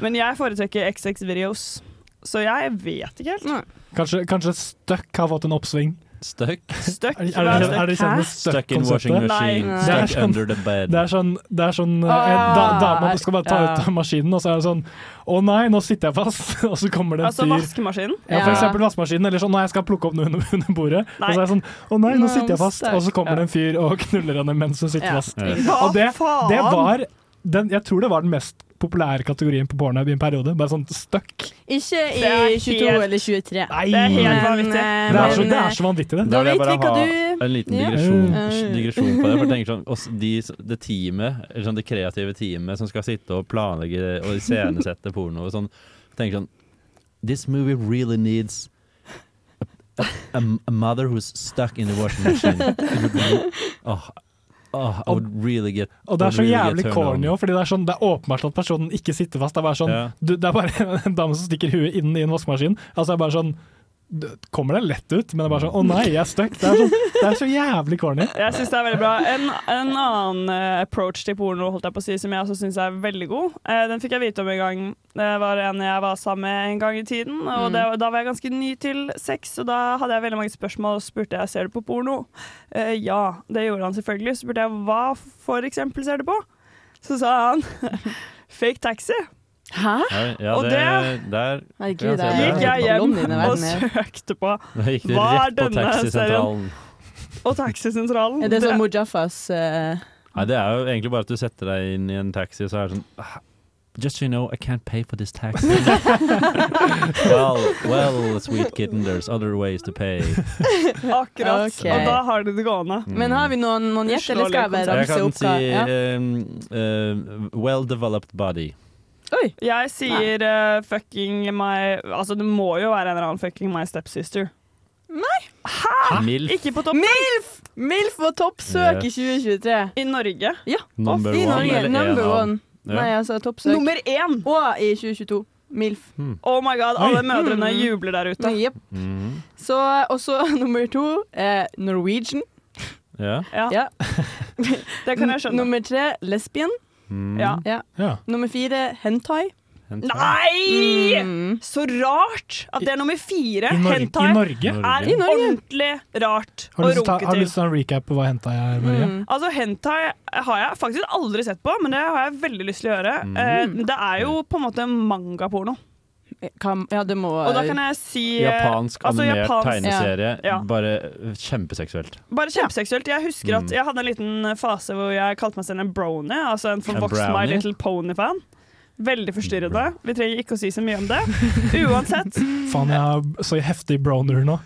Men jeg foretrekker XX Videos, så jeg vet ikke helt.
Kanskje, kanskje Stuck har fått en oppsving?
Stuck?
Stuck?
Er,
Hva
er,
er
det- er det
Stuck?
kjent med
Hæ?
Stuck in washing
Stuck-konseptet?
machine,
Det
stuck
er sånn-
under the bed.
Det er sånn, det er sånn eh,
Ah,
en da, dame skal bare ta
ja.
ut av maskinen, og så er det sånn Å nei, nå sitter jeg fast! Og så kommer det en
Altså
fyr.
vaskemaskinen?
Ja, for eksempel vaskemaskinen, eller sånn Nå jeg skal plukke opp noe under, under bordet. Og så er det sånn Å nei, nå sitter jeg fast! Og så kommer det en fyr og knuller henne mens hun sitter
Ja.
fast.
Hva
Og det,
faen?
det var den, Jeg tror det var den mest populære kategorien på porno i en periode. Bare sånn stuck.
Ikke i
Det er helt-
22 eller 23.
Nei. Det er helt vanvittig.
eh,
Det er så, det er så vanvittig, det.
Da vil
vet
jeg bare
vi hva
ha
du-
en liten
Ja.
digresjon,
Mm.
digresjon på det. For jeg tenker sånn, oss, de, det teamet, eller sånn det kreative teamet som skal sitte og planlegge og iscenesette porno og sånn, tenker sånn This movie really needs a, a, a mother who's stuck in the washing machine. It would be- Åh, åh, I would really get
Og det er så
I would really
jævlig
get turned on.
corny òg, fordi det er, sånn, det er åpenbart at personen ikke sitter fast. Det er bare sånn,
Ja.
du, det er bare en dame som stikker huet inn i en vaskemaskin. Altså, det er bare sånn det Kommer det lett ut, men det er bare sånn Å nei, jeg er stuck. Det er, sånn, det er så jævlig corny.
Jeg syns det er veldig bra. En, en annen eh, approach til porno holdt jeg på å si, som jeg også syns er veldig god, eh, den fikk jeg vite om en gang. Det var en jeg var sammen med en gang i tiden, og det, da var jeg ganske ny til sex. Og da hadde jeg veldig mange spørsmål, og så spurte jeg ser du på porno. Eh, ja, det gjorde han selvfølgelig. Så spurte jeg hva for eksempel ser du på? Så sa han fake taxi.
Hæ?
Ja, ja,
Og
det,
det-
der,
Herregud,
ja, se
jeg-
der.
Gikk jeg hjem
Ballongene
og
verden er-
søkte på
Da gikk det
hva er
rett på
denne serien?
taxisentralen.
Og taxisentralen.
Er det sånn
Det-
Mujafas eh,
Nei, det er jo egentlig bare at du setter deg inn i en taxi, så er det sånn "Ah, Just so you know, I can't pay for this taxi. well, well, sweet kitten, there's other ways to pay.
Akkurat.
Ok.
Og da har du det gående.
Men har vi noen, noen gjett, eller skal jeg bare
Mm. Jeg
ramse
kan
opp?
si
hva- ja.
um, uh, well developed body.
Jeg sier eh, fucking my Altså, det må jo være en eller annen fucking my stepsister.
Nei!
Milf.
Ah, Ikke på topp
MILF! MILF var toppsøk
Yes.
i 2023.
I Norge?
Ja.
Number
I
one,
Norge.
eller en
Number
av-
one.
Ja.
Nei, altså toppsøk.
Nummer én!
Og i 2022. MILF.
Oh my god, alle
Oi.
mødrene
Mm.
jubler der ute.
Jepp.
Mhm.
Så også nummer to eh, Norwegian.
Ja.
Ja.
Ja.
Det kan jeg skjønne.
Nummer tre lesbian.
Mm.
Ja.
Ja.
Nummer fire hentai.
Hentai.
Nei!
Mm.
Så rart at det er nummer fire.
I Nor-
Hentai
i Norge?
er
I Norge.
ordentlig rart
Har du
å
lyst til å ta-
runke
har du
til.
lyst til å ta en recap på hva henta jeg er, Marie?
Mm. Altså Hentai har jeg faktisk
Mm.
aldri sett på, men det har jeg veldig lyst til å gjøre. Eh, det er jo på en måte mangaporno.
Hva- Ja, det må
Og da kan jeg si
Japansk
altså,
animert
japansk-
tegneserie.
Ja.
Bare eh, kjempeseksuelt.
Bare kjempeseksuelt. Jeg husker at
Mm.
jeg hadde en liten fase hvor jeg kalte meg selv en brony, altså en
En
forvokst My
brownie?
Little Pony-fan. Veldig forstyrrende. Vi trenger ikke å si så mye om det. Uansett,
Faen, jeg har så heftig broner nå.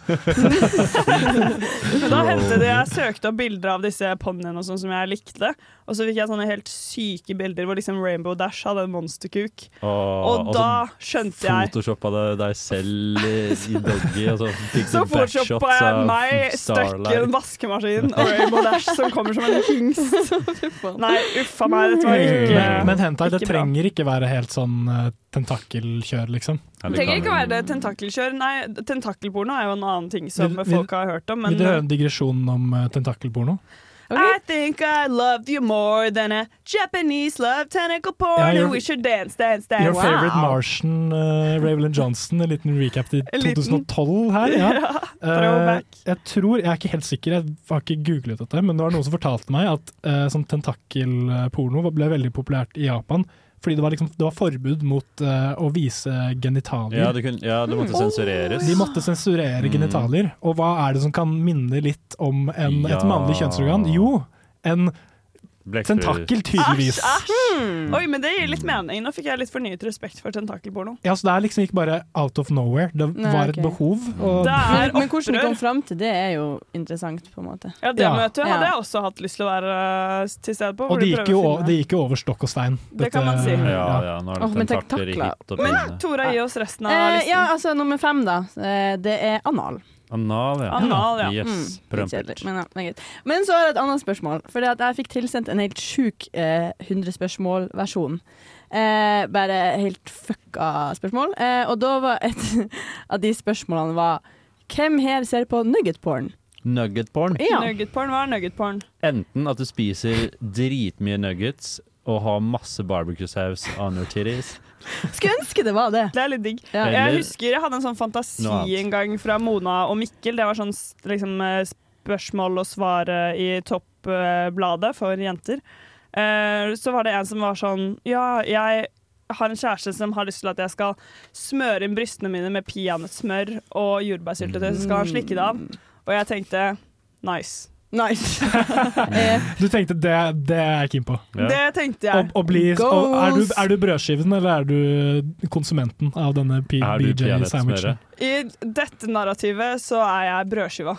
Men da hendte det jeg søkte opp bilder av disse ponniene og sånn som jeg likte. Og så fikk jeg sånne helt syke bilder hvor liksom Rainbow Dash hadde en monsterkuk. Og da skjønte jeg
Photoshoppa det deg selv i, i doggy, og så fikk
Så
du backshots
fortshoppa jeg
av
meg, støkken,
Starlight.
vaskemaskinen og Rainbow Dash som kommer som en hingst. Nei, uffa meg, dette var ikke
Men, men hentai, det
ikke bra.
trenger ikke være helt sånn eh, tentakelkjør, liksom.
Det trenger ikke være det tentakelkjør. Nei, tentakelporno er jo en annen ting som
Vil- vil-
folk har hørt om. Men uh,
Vil dere høre en digresjon om eh, tentakelporno?
I think I loved you more than a Japanese love tentacle porn
Ja, your-
and we should dance, dance, dance.
Your favorite Martian, eh, Ravelyn Johnson. En liten recap til
En liten-
2012 her. Ja. Eh,
Ja, throwback.
jeg tror, jeg er ikke helt sikker, jeg har ikke googlet dette, men det var noen som fortalte meg at eh, sånn tentakelporno ble veldig populært i Japan. Fordi det var, liksom, det var forbud mot eh, å vise genitalier.
Ja, det, kunne, ja, det måtte sensureres.
De måtte sensurere
Mm.
genitalier. Og hva er det som kan minne litt om en,
Ja.
et mannlig kjønnsorgan? Jo, en
Blekkfri-
tentakel, tydeligvis.
Æsj! Oi, men det gir litt mening. Nå fikk jeg litt fornyet respekt for tentakelporno.
Ja, så Det er liksom ikke bare out of nowhere. Det
Nei,
var
ok.
et behov.
Mm.
Og
men, men
opprør.
hvordan vi kom fram til det, er jo interessant, på en måte.
Ja, det møtet
Ja.
hadde jeg også hatt lyst til å være eh, til stede på.
og det
hvor de
gikk,
prøver
jo,
å finne-
det gikk jo over stokk og stein.
Det kan man si. Ja,
ja, nå er
det Åh, men tenk tentakler i takla. hit og
Men Tora, gi oss resten av
Eh,
listen.
ja, altså nummer fem, da. Eh, det er anal.
Anal, ja.
Anal, ja.
Yes,
Mm, litt kjedelig, men, ja, det er greit. men så har jeg et annet spørsmål. Fordi at jeg fikk tilsendt en helt sjuk eh, 100-spørsmål-versjon. Eh, bare helt fucka spørsmål. Eh, og da var et av de spørsmålene var Hvem her ser på nugget-porn?
Nugget porn.
Nuggetporn, hva er nuggetporn?
Enten at du spiser dritmye nuggets og har masse barbecue-saus on your titties.
Skulle ønske det var det.
Det er litt digg.
Ja.
Jeg
Eller-
husker jeg hadde en sånn fantasi
Noe annet.
en gang fra Mona og Mikkel. Det var sånn s- liksom, eh, spørsmål og svar eh, i Toppbladet for jenter. Eh, Så var det en som var sånn Ja, jeg har en kjæreste som har lyst til at jeg skal smøre inn brystene mine med peanøttsmør og jordbærsyltetøy, så skal han slikke det av. Og jeg tenkte nice.
Nice. Eh,
Du tenkte det, det er jeg keen på.
Det tenkte jeg.
Å bli, og er, du, er du brødskiven, eller er du konsumenten av denne P-
Er du
BJ-sandwichen?
peanøttsmøret?
I dette narrativet så er jeg brødskiva.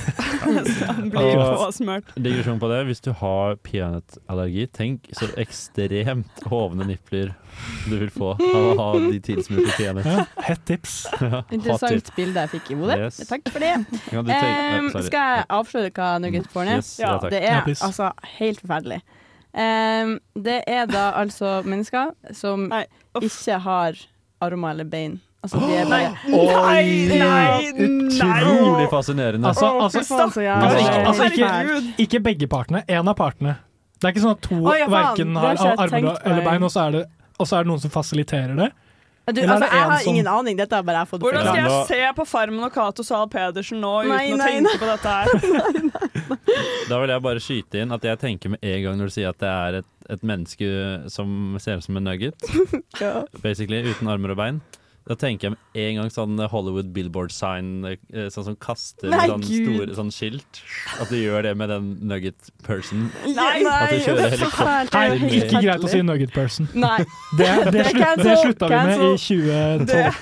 Som blir påsmurt.
Digresjon på det. Hvis du har peanøttallergi, tenk så ekstremt hovne nipler du vil få av å ha de tilsmurte
Ja,
peanøtter.
hett tips.
Ja, hot
Interessant
tip.
bilde jeg fikk i hodet.
Yes.
Takk for det.
Ja, du tenk-
Em,
Nei, sorry.
skal jeg avsløre hva nuggetporn er?
Yes, ja, takk.
det
Ja,
er
please.
altså helt forferdelig. Em, det er da altså mennesker som ikke har armer eller bein. Altså de er bare
Nei, nei,
Utrolig fascinerende.
Altså,
Å,
altså,
fy faen, så jævlig.
altså, ikke, altså
Herregud.
ikke, ikke begge partene, én av partene. Det er ikke sånn at to
Å, ja, faen,
verken
det har
har
ikke jeg
armer
tenkt på
eller
engang.
bein, og så er det, og så er det noen som fasiliterer det.
Du,
Eller er
altså,
det
jeg
en
har
som-
ingen aning, dette har bare jeg fått
Hvordan skal
Ja,
jeg
nå-
se på Farmen og Cato Zahl Pedersen nå uten
Nei,
å
nei,
tenke
nei.
på dette her?
Da vil jeg bare skyte inn at jeg tenker med en gang når du sier at det er et, et menneske som ser ut som en nugget,
Ja.
basically, uten armer og bein. Da tenker jeg med en gang sånn Hollywood billboard sign, eh, sånn som kaster
Nei,
sånn
Gud.
store sånn skilt. At du gjør det med den nugget person.
Nei,
At du kjører
det er så fælt, det
helikopter.
er
med-
helt
Ikke greit å si nugget person.
Nei.
Det, det,
Det er
slutt, det
cancel,
slutta vi med i 2012.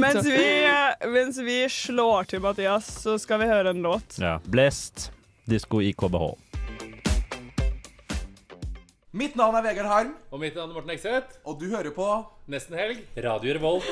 Mens vi, eh, mens vi slår til Mathias, så skal vi høre en låt.
Ja. Blest. Disko i KBH.
Mitt navn er Vegard Harm.
Og mitt navn er Morten Ekseth.
Og du hører på
Nesten helg. Radio Revolt.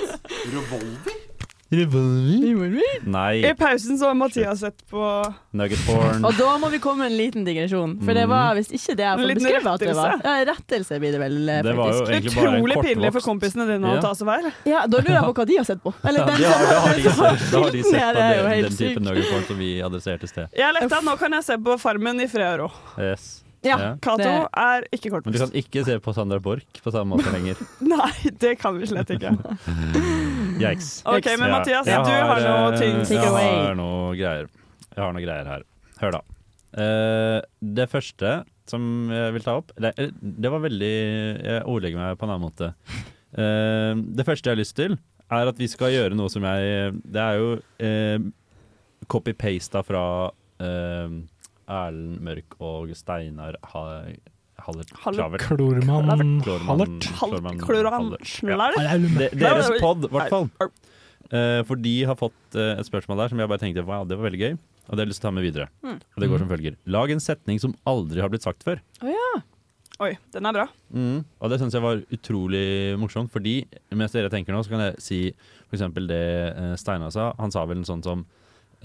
Revolver?
Nei.
I pausen så har Mathias sett på
Nugget porn.
Og da må vi komme med en liten digresjon, for
Mm.
det var visst ikke det jeg
En
fikk
liten
beskrevet at det var.
rettelse.
Ja, rettelse blir det vel, eh,
Det var jo
faktisk.
egentlig bare en
Utrolig pinlig for
kortvokst.
kompisene dine
Ja.
å ta så feil.
Ja, da lurer jeg på hva de har sett på.
Ja,
Eller
de
den
har, da har de
som har
sett, da har de
filten
sett
her,
på
det er jo
den,
helt
den
sykt.
typen nugget porn som vi adresserte i sted.
Jeg er letta, nå kan jeg se på Farmen i fred og ro.
Yes. Ja.
Cato er ikke
Men du kan
kortvokst.
ikke se på Sandra Borch på samme måte lenger.
Nei, det kan vi slett ikke.
Yikes.
Ok, Eh, men Mathias, du har noe
eh,
ting. Take
Jeg
away.
har noe greier. Jeg har noe greier her. Hør, da. Eh, det eh, første som jeg vil ta opp Det, det var veldig Jeg ordlegger meg på en annen måte. Eh, det første jeg har lyst til, er at vi skal gjøre noe som jeg Det er jo eh, copy-pasta fra eh, Erlend Mørk og Steinar ha, Hallert Klavert.
Klormann
Klormann-
Hallert.
Klormann-
Kloran
Ja.
Slær.
De- Deres pod, i hvert fall. Eh, for de har fått eh, et spørsmål der som jeg bare tenkte wow, det var veldig gøy. Og det har jeg lyst til å ta med videre.
Mm.
Og det går som følger. Lag en setning som aldri har blitt sagt før.
Å ja. Oi, den er bra.
Mm. Og det syns jeg var utrolig morsomt, fordi mens dere tenker nå, så kan jeg si f.eks. det eh, Steinar sa. Han sa vel en sånn som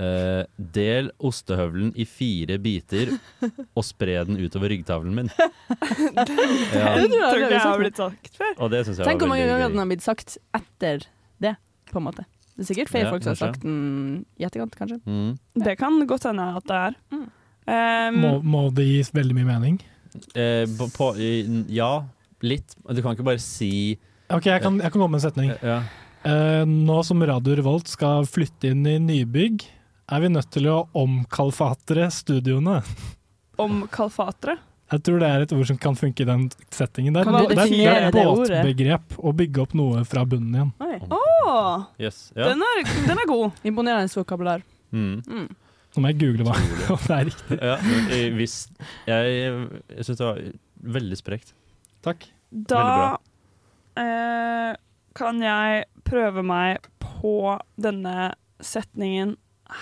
eh, Del ostehøvelen i fire biter og spre den utover ryggtavlen min. Ja.
Den
Det tror jeg
tror
aldri
ikke jeg
har blitt
har blitt sagt før.
Og det syns jeg
Tenk hvor
var
mange
veldig
ganger
gøy.
den har blitt sagt etter det, på en måte. Det er sikkert flere
Ja,
folk som har
kanskje.
sagt den i etterkant, kanskje.
Mm.
Det kan godt hende at det er. Um,
Må, må det gis veldig mye mening?
Eh, på, på, i- ja, litt. Men Du kan ikke bare si
Ok, jeg kan, jeg kan komme med en setning.
ja.
Eh, nå som Radio Revolt skal flytte inn i nybygg, er vi nødt til å omkalfatre studioene.
om kalfatere.
Jeg tror det er et ord som kan funke i den settingen der.
Kan man
Det er- det er
definere
et
det ordet?
båtbegrep å bygge opp noe fra bunnen igjen.
Å,
Yes.
den, er, den er god.
Imponerende vokabular. Mm.
Nå må jeg google hva om det er riktig.
ja, eh, hvis Jeg, jeg syns det var veldig sprekt.
Takk.
Da eh, kan jeg prøve meg på denne setningen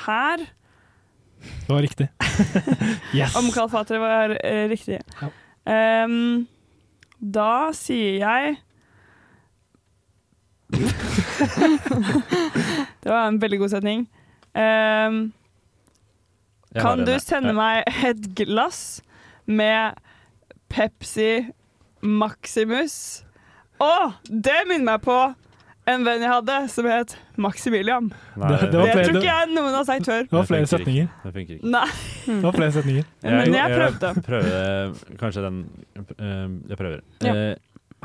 her.
Det var riktig. Yes!
Om kalfatere var eh, riktig.
Ja.
Ehm, da sier jeg Det var en veldig god setning. Ehm,
Jeg har
kan
en,
du
ja.
sende meg et glass med Pepsi Maximus? Å, det minner meg på en venn jeg hadde som het Maximilian.
Nei,
Det- det var
det
flere-
tror ikke jeg noen har sagt før.
Det var flere
funker ikke.
setninger.
Det funker ikke.
Nei.
Det var flere setninger.
Men jeg prøvde.
Jeg prøver kanskje den eh, Jeg prøver.
Ja.
Eh,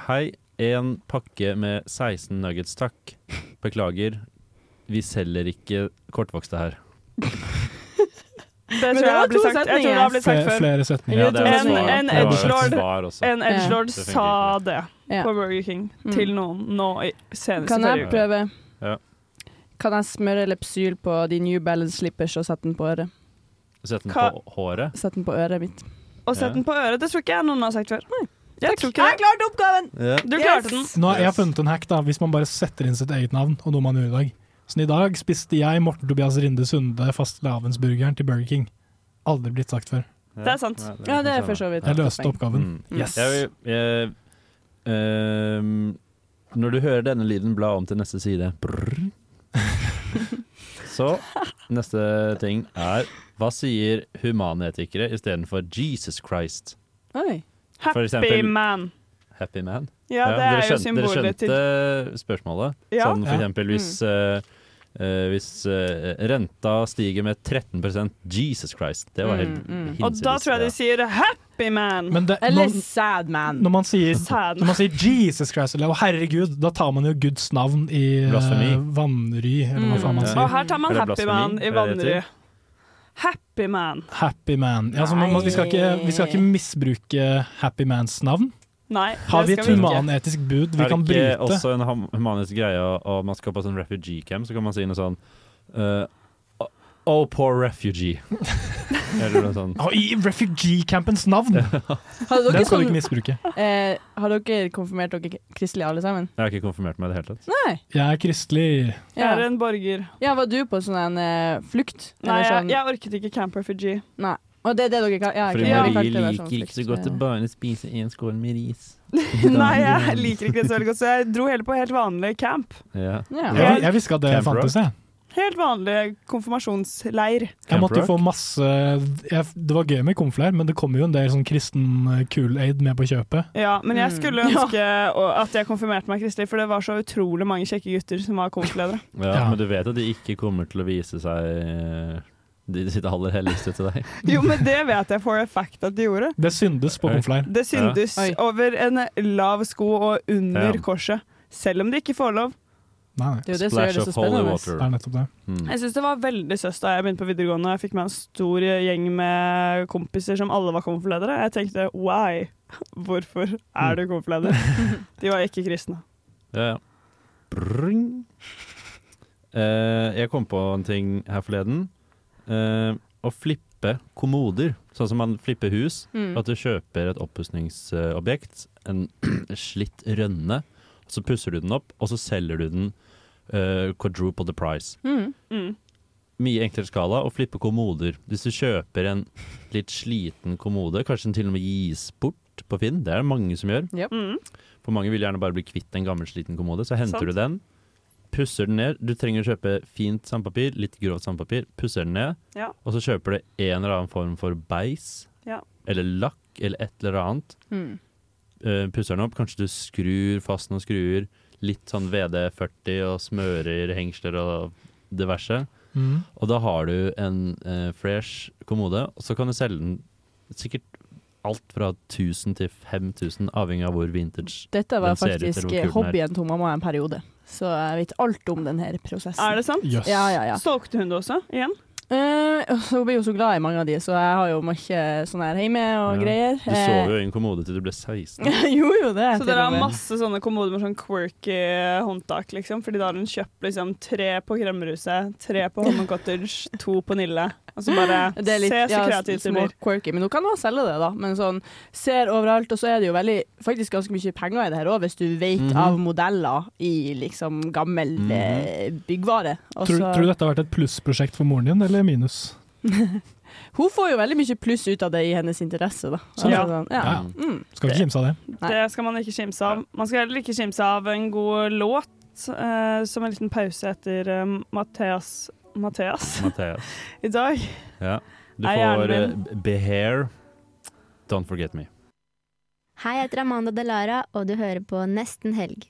hei, en pakke med 16 nuggets, takk. Beklager, vi selger ikke kortvokste her.
Det
Men
tror
det
jeg
var
har blitt
to
sagt, jeg tror det har blitt sagt
Flere,
før.
flere setninger.
Ja, det er et
En,
svar.
en
Det var jo et
edgelord,
svar også.
en edgelord
Det funker
sa det
Ja. Mm.
på Burger King til noen nå i seneste
Kan jeg
forrige uke.
prøve?
Ja.
Kan jeg smøre Lepsyl på de New Balance slippers og sette den på øret?
Sett den
Hva-
på håret.
Sette den på øret mitt.
Og sett den på øret, det tror ikke jeg noen har sagt før. Jeg tror ikke
Jeg
det.
klarte oppgaven!
Ja.
Du klarte den.
Nå har jeg funnet en hack, da, hvis man bare setter inn sitt eget navn og noe man gjorde i dag. Så i dag spiste jeg Morten Tobias Rinde Sunde fastelavnsburgeren til Burger King. Aldri blitt sagt før.
Det er sant.
Ja, det er for
sånn.
så vidt.
Jeg løste oppgaven.
Mm.
Yes.
Jeg, vil- jeg, ehm, når du hører denne lyden, bla om til neste side. Brrr. Så neste ting er Hva sier humanetikere istedenfor Jesus Christ?
Oi.
For
Happy
eksempel-
man.
Happy man?
Ja, det er
dere
jo
skjønte- sånn Dere
symbolet til
skjønte spørsmålet?
Ja.
Sånn for
Ja. Mm.
eksempel hvis, eh, eh, hvis eh, renta stiger med 13 Jesus Christ. Det var helt
Mm. Og da
hinsides,
tror jeg de
ja.
sier 'happy man'.
Men det,
Eller
når,
sad man.
når, man sier,
Sad.
når man sier Jesus Christ eller «Å, herregud, da tar man jo Guds navn i eh,
Blasfemi.
vannry, eller hva faen man
Ja.
Og
sier.
her tar man
Er det
'happy
blasfemi?
man' i
Er det det
Vanry. Happy man.
Happy man. Ja, så man, må- vi, skal ikke, vi skal ikke misbruke happy mans navn.
Nei, det
Har vi et
skal vi ikke.
humanetisk bud vi
er
kan
det ikke
bryte?
også en ham- humanisk greie og man skal på sånn refugee camp, så kan man si noe sånn eh, Oh, poor refugee. Eller noe sånt.
Å, I refugee-campens navn!
Hadde dere,
Den skal
sånn,
du ikke misbruke.
eh, har dere konfirmert dere kristelige alle sammen?
Jeg har ikke konfirmert meg i det hele tatt.
Nei.
Jeg er kristelig.
Jeg
Ja.
er en borger.
ja, var du på sånn en eh, flukt?
Nei,
Eller
jeg,
sånn?
jeg orket ikke Camp Refugee.
Nei. Og det er det dere kan ja,
For
ok, dere
Marie
kan ikke være sånn
liker ikke så
flukt.
godt å bare spise én skål med ris.
Nei, jeg liker ikke det så veldig godt, så jeg dro heller på helt vanlig camp.
Ja.
Ja.
Jeg, jeg visste ikke at det
Camp Rock?
fantes, jeg.
Helt vanlig konfirmasjonsleir.
Jeg
Camp
måtte
Rock?
få masse jeg, Det var gøy med komflær, men det kom jo en del sånn kristen eh, Kool-Aid med på kjøpet.
Ja, men jeg
Mm.
skulle ønske å- at jeg konfirmerte meg kristelig, for det var så utrolig mange kjekke gutter som var konfirmledere.
Ja,
Ja.
Men du vet at de ikke kommer til å vise seg eh, de de sitt aller helligste til deg.
Jo, men det vet jeg for a fact at de gjorde.
Det syndes på
Oi.
komflær.
Det syndes
Oi.
over en lav sko og under
Ja.
korset, selv om de ikke får lov.
Nei, nei.
Det er jo det som gjør
Splash
det så
of holy
spennende.
Det
water.
er nettopp det.
Mm.
Jeg syns det var veldig søst da jeg begynte på videregående og jeg fikk meg en stor gjeng med kompiser som alle var konfirmledere. Jeg tenkte why? Hvorfor er du konfirmleder? De var ikke kristne.
Ja, ja. Brrring. Eh, jeg kom på en ting her forleden. Eh, å flippe kommoder, sånn som man flipper hus.
Mm.
At du kjøper et oppussingsobjekt, en slitt rønne, så pusser du den opp, og så selger du den eh, quadruple the price.
Mm. Mm.
Mye enklere skala å flippe kommoder. Hvis du kjøper en litt sliten kommode, kanskje den til og med gis bort på Finn, det er det mange som gjør.
Yep. Mm.
For mange vil gjerne bare bli kvitt en gammel sliten kommode. Så henter
Sant.
du den, pusser den ned. Du trenger å kjøpe fint sandpapir, litt grovt sandpapir, pusser den ned.
Ja.
Og så kjøper du en eller annen form for beis,
Ja.
eller lakk, eller et eller annet.
Mm.
Eh, pusser den opp, kanskje du skrur fast noen skruer. Litt sånn VD40 og smører hengsler og diverse.
Mhm.
Og da har du en eh, fresh kommode, og så kan du selge den sikkert alt fra 1000 til 5000, avhengig av hvor vintage
Dette var
den ser ut, eller
faktisk eh,
hvor kul den er.
hobbyen til mamma en periode, så jeg vet alt om denne prosessen.
Er det sant?
Yes. Ja, ja, ja.
Solgte hun det også? Igjen?
Eh, og så blir hun så glad i mange av de, så jeg har jo mye sånn her hjemme og
Ja.
greier.
Eh.
Du sov jo i en kommode til du ble 16.
Eh, jo, jo, det.
Så
til
dere
og
har
med.
masse sånne kommoder med sånn quirky håndtak, liksom? Fordi da har hun kjøpt liksom tre på Kremmerhuset, tre på Holmen Cottage, to på Nille. Og så bare
Det er litt,
Se så
ja,
kreativt det
små
blir.
Quirky, men hun kan også selge det, da. Men sånn, ser overalt, og så er det jo veldig, faktisk ganske mye penger i det her òg, hvis du vet
Mhm.
av modeller i liksom gammel eh, byggvare. Og
Tror,
så-
tror du dette har vært et plussprosjekt for moren din, eller minus?
Hun får jo veldig mye pluss ut av det i hennes interesse, da.
Sant.
Altså, sånn, ja.
Ja.
Mm.
Skal ikke kimse av det.
Det skal man ikke kimse av. Man skal heller ikke kimse av en god låt, eh, som en liten pause etter eh, Matheas Matheas
Mathias.
i dag.
Ja. Du
Nei, hjernen
får eh,
min.
b- Behair, Don't Forget Me.
Hei, jeg heter Amanda Delara, og du hører på Nesten helg.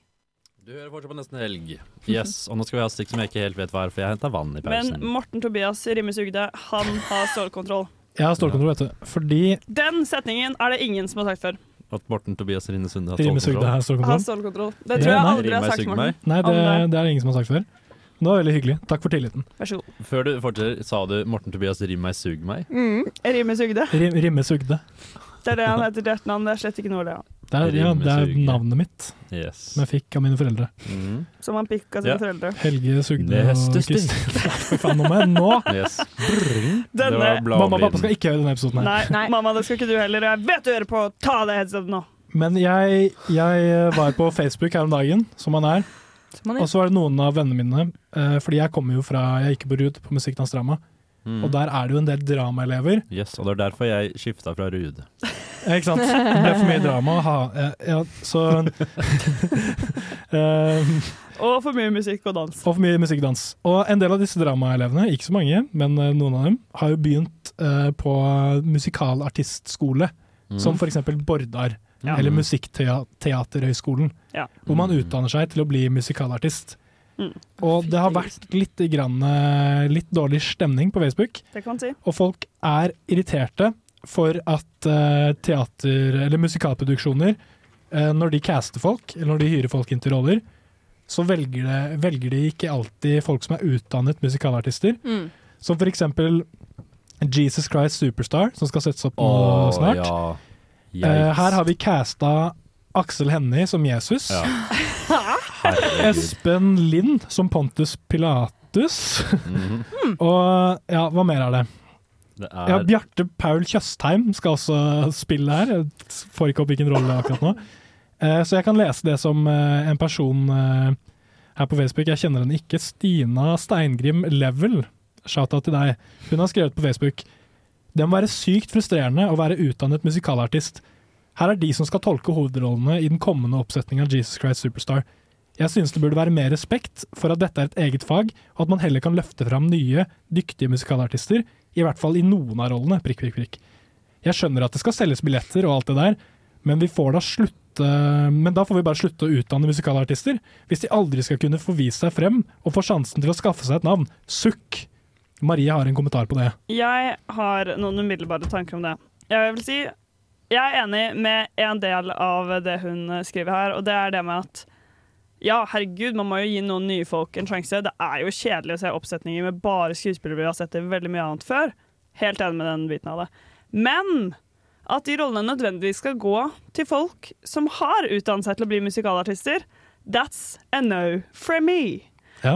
Du hører fortsatt på Nesten Helg. Yes, Og nå skal vi ha stikk som jeg ikke helt vet hva er, for jeg henta vann i
Men
pausen.
Morten Tobias Rimmesugde, han har stålkontroll.
Jeg har stålkontroll, vet du. Fordi
Den setningen er det ingen som har sagt før.
At Morten Tobias Rine Sunde har
Rimesugde
stålkontroll.
har
Har
stålkontroll.
stålkontroll. Det tror
Ja,
jeg
nei.
aldri har sagt, Morten.
Nei, det,
Aldri.
det er det ingen som har sagt før. Men det var veldig hyggelig. Takk for tilliten.
Vær så god.
Før du fortsetter, sa du Morten Tobias Rim meg, sug meg?
Mm. Rimmesugde.
Rim, rimmesugde.
Det er det han heter til etternavn. Det er slett ikke noe, det. ja.
Det er, ja, det er
Rimmesugde.
navnet mitt,
Yes.
som jeg fikk av mine foreldre.
Mm.
Som han pikk av
Ja.
sine foreldre.
Helge Sugde og
Nestesting.
Kristin. Fy faen, nå må jeg nå!
Yes. Brrring. Det
Denne-
var bladlyden.
Mamma og pappa skal ikke høre denne episoden her.
Nei, mamma, det skal ikke du heller. og Jeg vet du hører på! Ta av deg headsetet nå!
Men jeg, jeg eh, var på Facebook her om dagen, som man er.
man er.
Og så var det noen av vennene mine, eh, fordi jeg kommer jo fra Jeg gikk på RUD på Musikkdans Drama,
Mm.
og der er det jo en del dramaelever.
Yes, og det er derfor jeg skifta fra Rude.
Ja, Ikke sant? Det ble for mye drama. Ha, eh, ja, så eh,
Og for mye musikk og dans.
Og for mye musikkdans. Og en del av disse dramaelevene, ikke så mange, men eh, noen av dem, har jo begynt eh, på musikalartistskole,
Mm.
som f.eks. Bordar.
Ja.
Eller Musikkteaterhøgskolen,
Ja.
hvor man utdanner seg til å bli musikalartist.
Mm.
Og det har vært litt, grann, eh, litt dårlig stemning på Facebook.
Det kan man si.
Og folk er irriterte for at eh, teater- eller musikalproduksjoner, eh, når de caster folk, eller når de hyrer folk inn til roller, så velger de, velger de ikke alltid folk som er utdannet musikalartister.
Mm.
Som for eksempel Jesus Christ Superstar, som skal settes opp nå
Åh,
snart.
ja.
Mm. Eh,
Yikes.
her har vi casta Aksel Hennie som Jesus.
Ja.
Espen Lind som Pontus Pilatus. Og ja, hva mer er det?
Mhm. Det er
Ja, Bjarte Paul Tjøstheim skal også spille her. Jeg får ikke opp hvilken rolle det er akkurat nå. Eh, Så jeg kan lese det som eh, en person eh, her på Facebook. Jeg kjenner henne ikke. Stina Steingrim Level. Shoutout til deg. Hun har skrevet på Facebook. Det må være sykt frustrerende å være utdannet musikalartist. Her er de som skal tolke hovedrollene i den kommende oppsetningen av Jesus Christ Superstar. Jeg synes det burde være mer respekt for at dette er et eget fag, og at man heller kan løfte fram nye, dyktige musikalartister, i hvert fall i noen av rollene. Prikk, prikk, prikk. Jeg skjønner at det skal selges billetter og alt det der, men vi får da slutte men da får vi bare slutte å utdanne musikalartister, hvis de aldri skal kunne få vist seg frem og få sjansen til å skaffe seg et navn. Sukk! Marie har en kommentar på det.
Jeg har noen umiddelbare tanker om det. Jeg vil si jeg er enig med en del av det hun skriver her, og det er det med at ja, herregud, man må jo gi noen nye folk en sjanse. Det er jo kjedelig å se oppsetninger med bare skuespillere vi har sett i veldig mye annet før. Helt enig med den biten av det. Men at de rollene nødvendigvis skal gå til folk som har utdannet seg til å bli musikalartister, That's a no from me.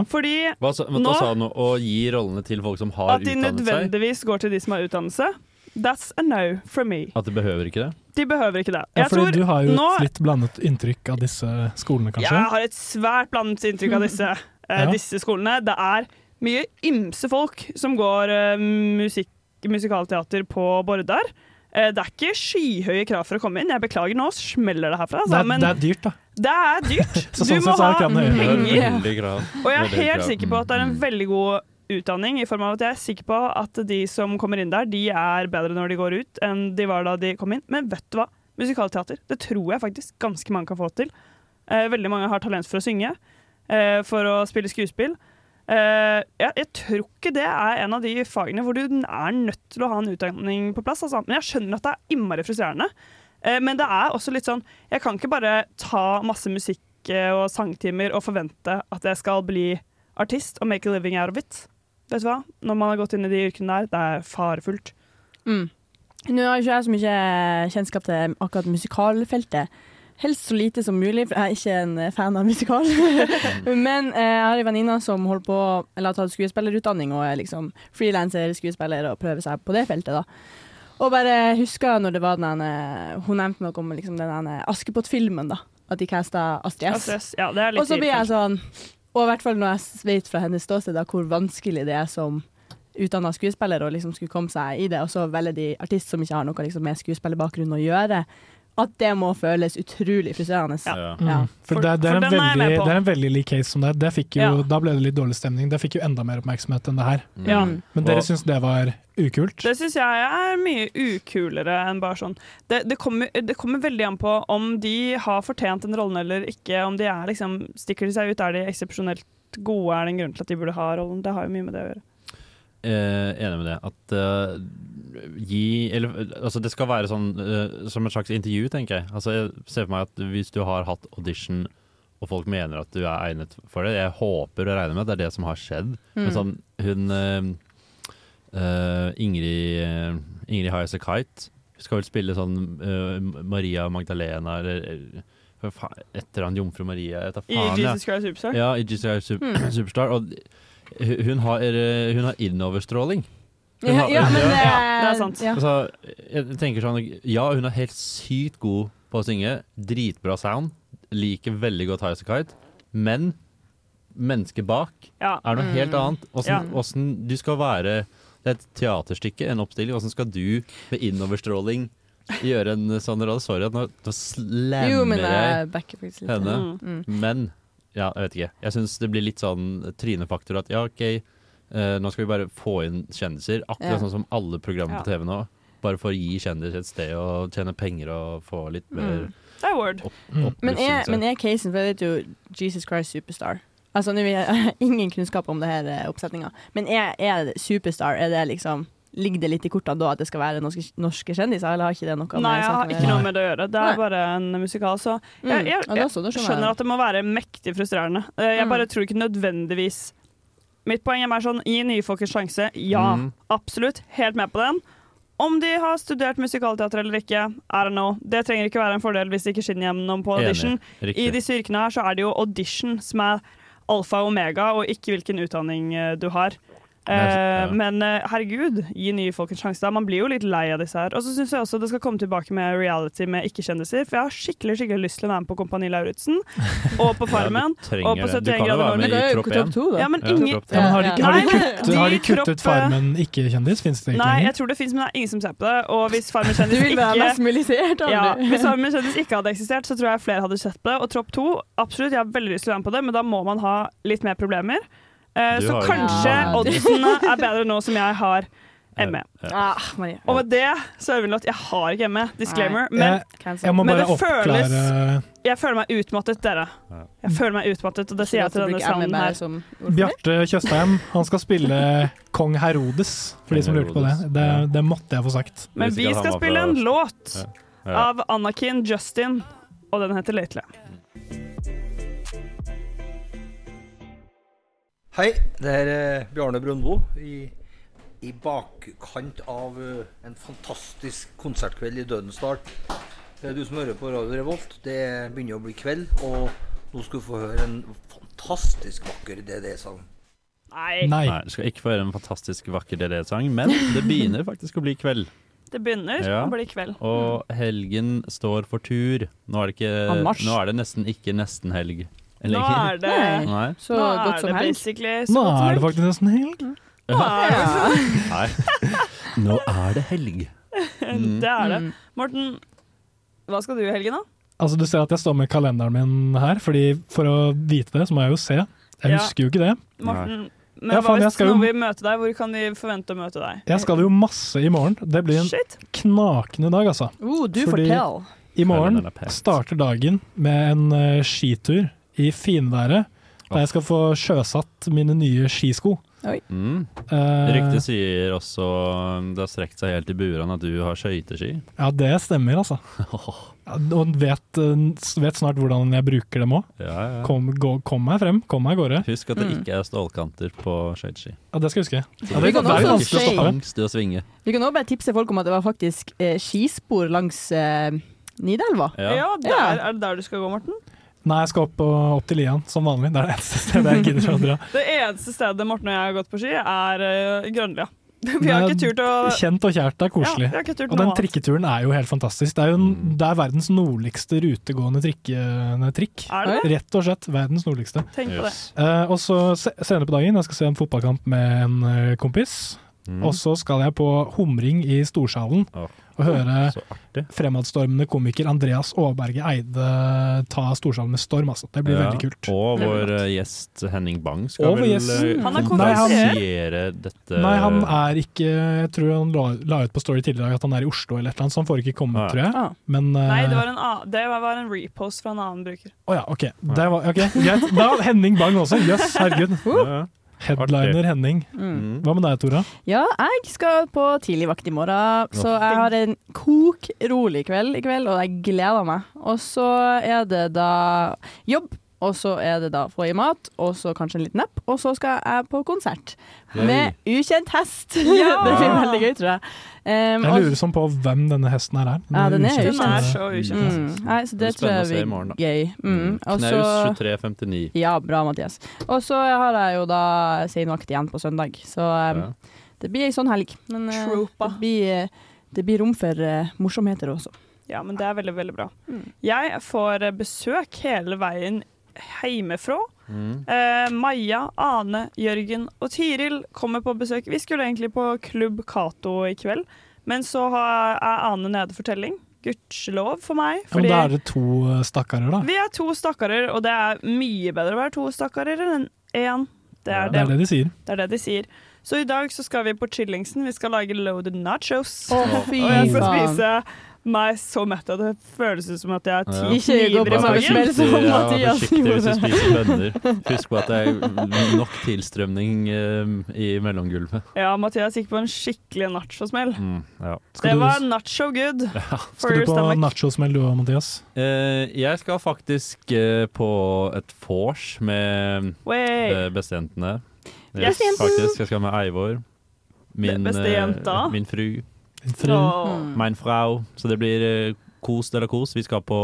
Fordi
Hva sa, hva
nå-
sa han nå? Å gi rollene til folk som har
At de
utdannet seg?
nødvendigvis går til de som har utdannelse. That's a no from me.
At de behøver ikke det?
De behøver ikke det.
Ja,
Jeg
fordi
tror
du har jo
nå
et litt blandet inntrykk av disse skolene, kanskje? Mm.
Jeg har et svært blandet inntrykk av disse, eh,
Ja.
disse skolene. Det er mye ymse folk som går eh, musikk, musikalteater på Bordar. Eh, det er ikke skyhøye krav for å komme inn. Jeg beklager, nå smeller det herfra.
det,
Altså,
er,
men
det er dyrt, da.
det er dyrt.
Så
du
sånn
må
sett så er
ha
kravene høyere.
penger.
Veldig krav.
Og
Veldig
jeg er Mm. helt
krav.
sikker på at det er en veldig god utdanning, i form av at jeg er sikker på at de som kommer inn der, de er bedre når de går ut enn de var da de kom inn. Men vet du hva? Musikalteater, det tror jeg faktisk ganske mange kan få til. Eh, veldig mange har talent for å synge, eh, for å spille skuespill. Eh, jeg, jeg tror ikke det er en av de fagene hvor du er nødt til å ha en utdanning på plass. Altså. Men jeg skjønner at det er innmari frustrerende. Eh, men det er også litt sånn Jeg kan ikke bare ta masse musikk eh, og sangtimer og forvente at jeg skal bli artist og make a living out of it. Vet du hva? Når man har gått inn i de yrkene der, det er farefullt.
Mm. Nå har ikke jeg så mye kjennskap til akkurat musikalfeltet. Helst så lite som mulig, for jeg er ikke en fan av musikal. Men eh, jeg har en venninne som holder på, eller har tatt skuespillerutdanning og er liksom frilanser, skuespiller og prøver seg på det feltet. da. Og bare husker når det var den ene- Hun nevnte noe om liksom den ene Askepott-filmen, da. At de casta Astrid S.
Astrid S, ja, det er litt
og så blir jeg
irriterende.
sånn Og i hvert fall når jeg vet fra hennes ståsted da, hvor vanskelig det er som utdanna skuespiller å liksom skulle komme seg i det, og så velger de artist som ikke har noe liksom, med skuespillerbakgrunn å gjøre, at det må føles utrolig frustrerende.
Ja.
Mm. For, det, er- det, er en
den er jeg
veldig,
med på.
det er en veldig lik case som det. det fikk jo,
Ja.
Da ble det litt dårlig stemning. Det fikk jo enda mer oppmerksomhet enn det her.
Ja.
Mm.
Mm.
Men dere
Og-
syns det var ukult?
Det syns jeg er mye ukulere enn bare sånn det, det, kommer, det kommer veldig an på om de har fortjent den rollen eller ikke. Om de er liksom, Stikker de seg ut, er de eksepsjonelt gode? Er det en grunn til at de burde ha rollen? Det har jo mye med det å gjøre.
Eh, enig med det. At eh, gi Eller eh, altså, det skal være sånn eh, som et slags intervju, tenker jeg. Altså, jeg ser for meg at hvis du har hatt audition og folk mener at du er egnet for det Jeg håper og regner med at det er det som har skjedd.
Mm.
Men sånn, hun eh, eh, Ingrid uh, Ingrid Highas A Kite skal vel spille sånn eh, Maria Magdalena eller eller, hva faen, et eller annet Jomfru Maria jeg vet da
I
faen,
Jesus Christ Superstar?
Ja, i Jesus Christ Sup-
Hmm.
Mm.
Superstar. Og hun- hun har, eh, hun har innoverstråling. Hun
Ja,
har-
ja, men det,
det er sant.
Ja.
Altså, jeg tenker sånn Ja, hun er helt sykt god på å synge. Dritbra sound. Liker veldig godt Highas Kite. Men mennesket bak
Ja.
er noe
Mm.
Hmm.
helt annet. Åssen
Ja.
åssen du skal være Det er et teaterstykke, en oppstilling. Åssen skal du med innoverstråling gjøre en sånn rolle? Sorry, at nå, nå
Jo, men
slammer
jeg
jeg
backer faktisk litt.
henne.
Mm.
Men ja, jeg vet ikke. Jeg syns det blir litt sånn trynefaktor at ja, OK, eh, nå skal vi bare få inn kjendiser. Akkurat
Ja.
sånn som alle programmer på
Ja.
TV nå. Bare for å gi kjendiser et sted å tjene penger og få litt mer
Mm.
Det er word.
opp,
Men er,
oppblusselse.
men er casen, for jeg vet jo Jesus Christ Superstar Altså, nå har jeg ingen kunnskap om det her eh, oppsetninga, men er, er det Superstar, er det liksom Ligger det litt i kortene da at det skal være norske, norske kjendiser, eller har ikke det noe
Nei, jeg har ikke noe med det å gjøre. Det
Nei.
er bare en musikal. Så
Mm.
jeg, jeg,
Ja, det er Mm. også, det skjønner
jeg
jeg.
skjønner at det må være mektig frustrerende. Eh, Jeg bare tror ikke nødvendigvis Mitt poeng er mer sånn gi nye folk en sjanse. Ja,
Mm.
absolutt. Helt med på den. Om de har studert musikalteater eller ikke, I don't know. Det trenger ikke være en fordel hvis de ikke skinner gjennom på
Enig.
audition.
Riktig.
I disse yrkene her så er det jo audition som er alfa og omega, og ikke hvilken utdanning eh, du har. Eh,
Nei,
men eh, herregud, gi nye folk en sjanse. da. Man blir jo litt lei av disse her. Og så syns jeg også det skal komme tilbake med reality med ikke-kjendiser. For jeg har skikkelig skikkelig lyst til å være med på Kompani Lauritzen. Og på Farmen.
trenger
og på
det. Du kan
71
jo
grader
være med i
nord.
Men det er jo Tropp ikke Tropp 1. 2 da.
Ja, men
Ja,
ingen
Tropp
Ja,
3.
men har de, har de
Nei,
kuttet, har de
Tropp,
kuttet
eh,
Farmen ikke-kjendis? Fins det ikke
Nei,
lenger?
jeg tror det fins, men det er ingen som ser på det. Og hvis Farmen kjendis
Du vil være
ikke-
mest mulig seert, har
ja,
du.
Hvis Farmen kjendis ikke hadde eksistert, så tror jeg flere hadde sett på det. Og Tropp 2, absolutt, jeg har veldig lyst til å være med på det, men da må man ha litt mer problemer. Eh,
Du
så
har jo-
kanskje
Ja, du-
oddsene er bedre nå som jeg har ME.
Ah, Maria.
Og med det så er Øyvind at jeg har ikke ME, disclaimer.
Nei. Eh.
Men,
Jeg- jeg må
men
bare
det føles
oppklare-
Jeg føler meg utmattet, dere. Jeg føler meg utmattet, og det sier jeg til
Skulle
denne
at du bruker ME
sounden
bare
her.
som
Bjarte Tjøstheim han skal spille kong Herodes, for de som lurte på det. Det, det måtte jeg få sagt.
Men vi skal spille en låt
Ja. Ja.
av Anakin Justin, og den heter Lately.
Hei, det er eh, Bjarne Brøndbo i, i bakkant av eh, en fantastisk konsertkveld i Dødensdal. Det er du som hører på Radio Revolt. Det begynner å bli kveld, og Nå skal du få høre en fantastisk vakker DDE-sang.
Nei.
Du skal ikke få høre en fantastisk vakker DDE-sang, men det begynner faktisk å bli kveld.
Det begynner
Ja.
å bli kveld.
Og helgen står for tur. Nå er det, ikke,
Anmarsj.
nå er det nesten ikke nesten helg
Nå er det
Nei.
Nå er det basically
Nå
så godt som
er det
helg.
faktisk nesten helg.
Ja.
Nei. Nå er det helg. Mm.
Det er det. Morten, hva skal du i helgen, da?
Altså, du ser at jeg står med kalenderen min her, fordi for å vite det, så må jeg jo se. Jeg
Ja.
husker jo ikke det.
Morten, men
Ja,
hva
faen, jeg
hvis
skal jo-
når vi møter deg, hvor kan vi forvente å møte deg?
Jeg skal jo masse i morgen. Det blir en knakende dag, altså.
Oh, du
Fordi
fortell.
I
Kalenderen
morgen
er packed.
starter dagen med en eh, skitur i finværet, der jeg skal få sjøsatt mine nye skisko.
Mm.
Eh,
Ryktet sier også um, det har strekt seg helt i burene at du har skøyteski.
Ja, det stemmer, altså. Ja, Og vet, eh, vet snart hvordan jeg bruker dem òg.
Ja, ja.
Kom, gå- kom meg frem, kom meg av gårde.
Husk at det ikke er stålkanter på skøyteski.
Ja, det skal jeg huske.
Så
Ja, det,
Vi kan
det er
også
jo vanskelig å
si-
stoppe.
sånn Angst i å svinge.
Vi kan også bare tipse folk om at det var faktisk eh, skispor langs eh, Nidelva.
Ja, der, Er det der du skal gå, Morten?
Nei, jeg skal opp, og- opp til Lian, som vanlig. Det er det eneste stedet jeg gidder å dra.
Det eneste stedet Morten og jeg har gått på ski, er uh, Grønlia. Vi har
Nei,
ikke turt å
Kjent og kjært det er koselig.
Ja, vi har ikke turt
og
noe
den
annet.
trikketuren er jo helt fantastisk. Det er, jo en,
Mm.
det er verdens nordligste rutegående trikkende trikk.
Er det det?
Rett og slett verdens nordligste.
Tenk på det. Yes.
Eh, og så se, senere på dagen, jeg skal se en fotballkamp med en eh, kompis.
Mm.
Og så skal jeg på humring i Storsalen og høre fremadstormende komiker Andreas Aaberge Eide ta Storsalen med storm. Altså. Det blir
Ja,
veldig kult.
Og
Det blir
vår eh, gjest Henning Bang skal
Og vår
vel
gjest-
eh,
Han er
konferansiere dette
Nei, han er ikke Jeg tror han la, la ut på Story tidligere i dag at han er i Oslo eller et eller annet, så han får ikke komme,
Ah, ja.
tror jeg. Men eh,
Nei, det var, en, a- det var en repost fra en annen bruker.
Å ja, OK. Det var, ok, Greit. Da Henning Bang også. Jøss, herregud.
Ja.
Headliner Henning.
Mm.
Hva med deg, Tora?
Ja, jeg skal på tidlig vakt i morgen, så jeg har en kokrolig kveld i kveld, og jeg gleder meg. Og så er det da jobb, og så er det da få i mat, og så kanskje en liten napp, og så skal jeg på konsert
Yay.
med ukjent hest.
Ja!
det blir veldig gøy, tror jeg. Um,
Jeg
og-
lurer sånn på hvem denne hesten her er.
ja, den er
ukjent.
ukjent.
Mm.
Mm. Nei, så det
Det blir
tror jeg
spennende å se i
blir
morgen, da.
gøy. Mm. Og så-
altså-
Knaus 2359.
ja, bra, Mathias. Og så har jeg jo da seinvakt igjen på søndag, så um, det blir ei sånn helg. Men eh, det blir, det blir rom for eh, morsomheter også.
Ja, men det er veldig, veldig bra. Jeg får eh, besøk hele veien hjemmefra.
Mm.
Eh, Maja, Ane, Jørgen og Tiril kommer på besøk. Vi skulle egentlig på Klubb Cato i kveld, men så har, er Ane nede for telling. Gudskjelov for meg.
Ja, men da er det to eh, stakkarer, da.
Vi er to stakkarer, og det er mye bedre å være to stakkarer enn én. Det er,
Det er det de sier.
Det er det de sier. Så i dag så skal vi på Chillingsen. Vi skal lage loaded nachos.
Å, fy
og jeg skal
faen.
spise meg så mett at det føles ut som at jeg
Ja.
har ti kniver i
Vær
magen.
forsiktig, ja, vær forsiktig hvis du spiser bønner. Husk på at det er nok tilstrømning eh, i mellomgulvet.
Ja, Mathias gikk på en skikkelig nachosmell.
Mm, ja.
Det var nacho good
Ja.
for
Skal du
your
på
stomach.
nachosmell du òg, Mathias?
Eh, jeg skal faktisk eh, på et vors med
Way.
eh, bestejentene.
Yes. Bestejenten.
Faktisk. Jeg skal med Eivor. Min,
Be- bestejenta.
eh, min fru.
fru. Åh.
Mein Frau. Så det blir eh, kos de la kos. Vi skal på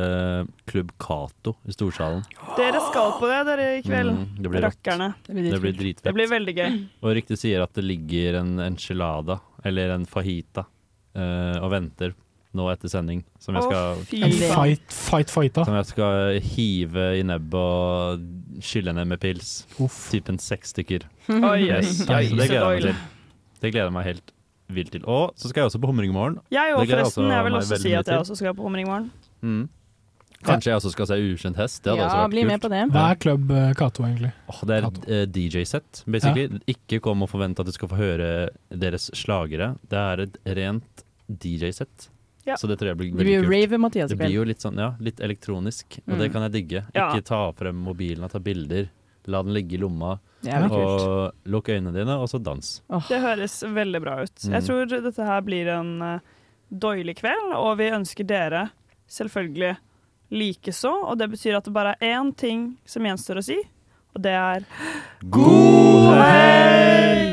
eh, Klubb Cato i Storsalen.
Dere skal på det dere i kveld.
Mm, det blir rått.
Rakkerne.
Det blir Det blir dritkult. dritfett.
Det blir veldig gøy.
Og ryktet sier at det ligger en enchilada, eller en fajita, eh, og venter nå etter sending. Som jeg
Å,
skal,
fy
En fight, fight, fight, da.
som jeg skal hive i nebbet og skylle ned med pils. Typen seks stykker.
Oi,
Yes.
oi,
Så
oi.
det gleder jeg meg
Så
til. Det gleder jeg meg helt vilt til. Og så skal jeg også på humring i morgen.
Jeg òg,
Det gleder
forresten. Jeg vil
meg
også
veldig
si
mye
at jeg
til.
også skal på Humring i morgen.
Mm. Kanskje jeg også skal se Ukjent hest. Det hadde også vært kult.
Hva er klubb eh, Cato, egentlig?
Åh, det er et eh, DJ-sett, basically. Ikke kom og forvent at du skal få høre deres slagere. Det er et rent DJ-sett.
Ja.
Så det tror jeg blir
Det
veldig
blir
kult.
rave, Mathias, i
det
kveld.
blir jo litt sånn, ja, litt elektronisk, og det
Mm.
kan jeg digge.
Ja.
Ikke ta frem mobilen og ta bilder. La den ligge i lomma,
Det er
og
veldig kult.
lukk øynene dine, og så dans.
Det høres veldig bra ut.
Mm.
Jeg tror dette her blir en eh, døylig kveld, og vi ønsker dere selvfølgelig likeså. Og det betyr at det bare er én ting som gjenstår å si, og det er God helg!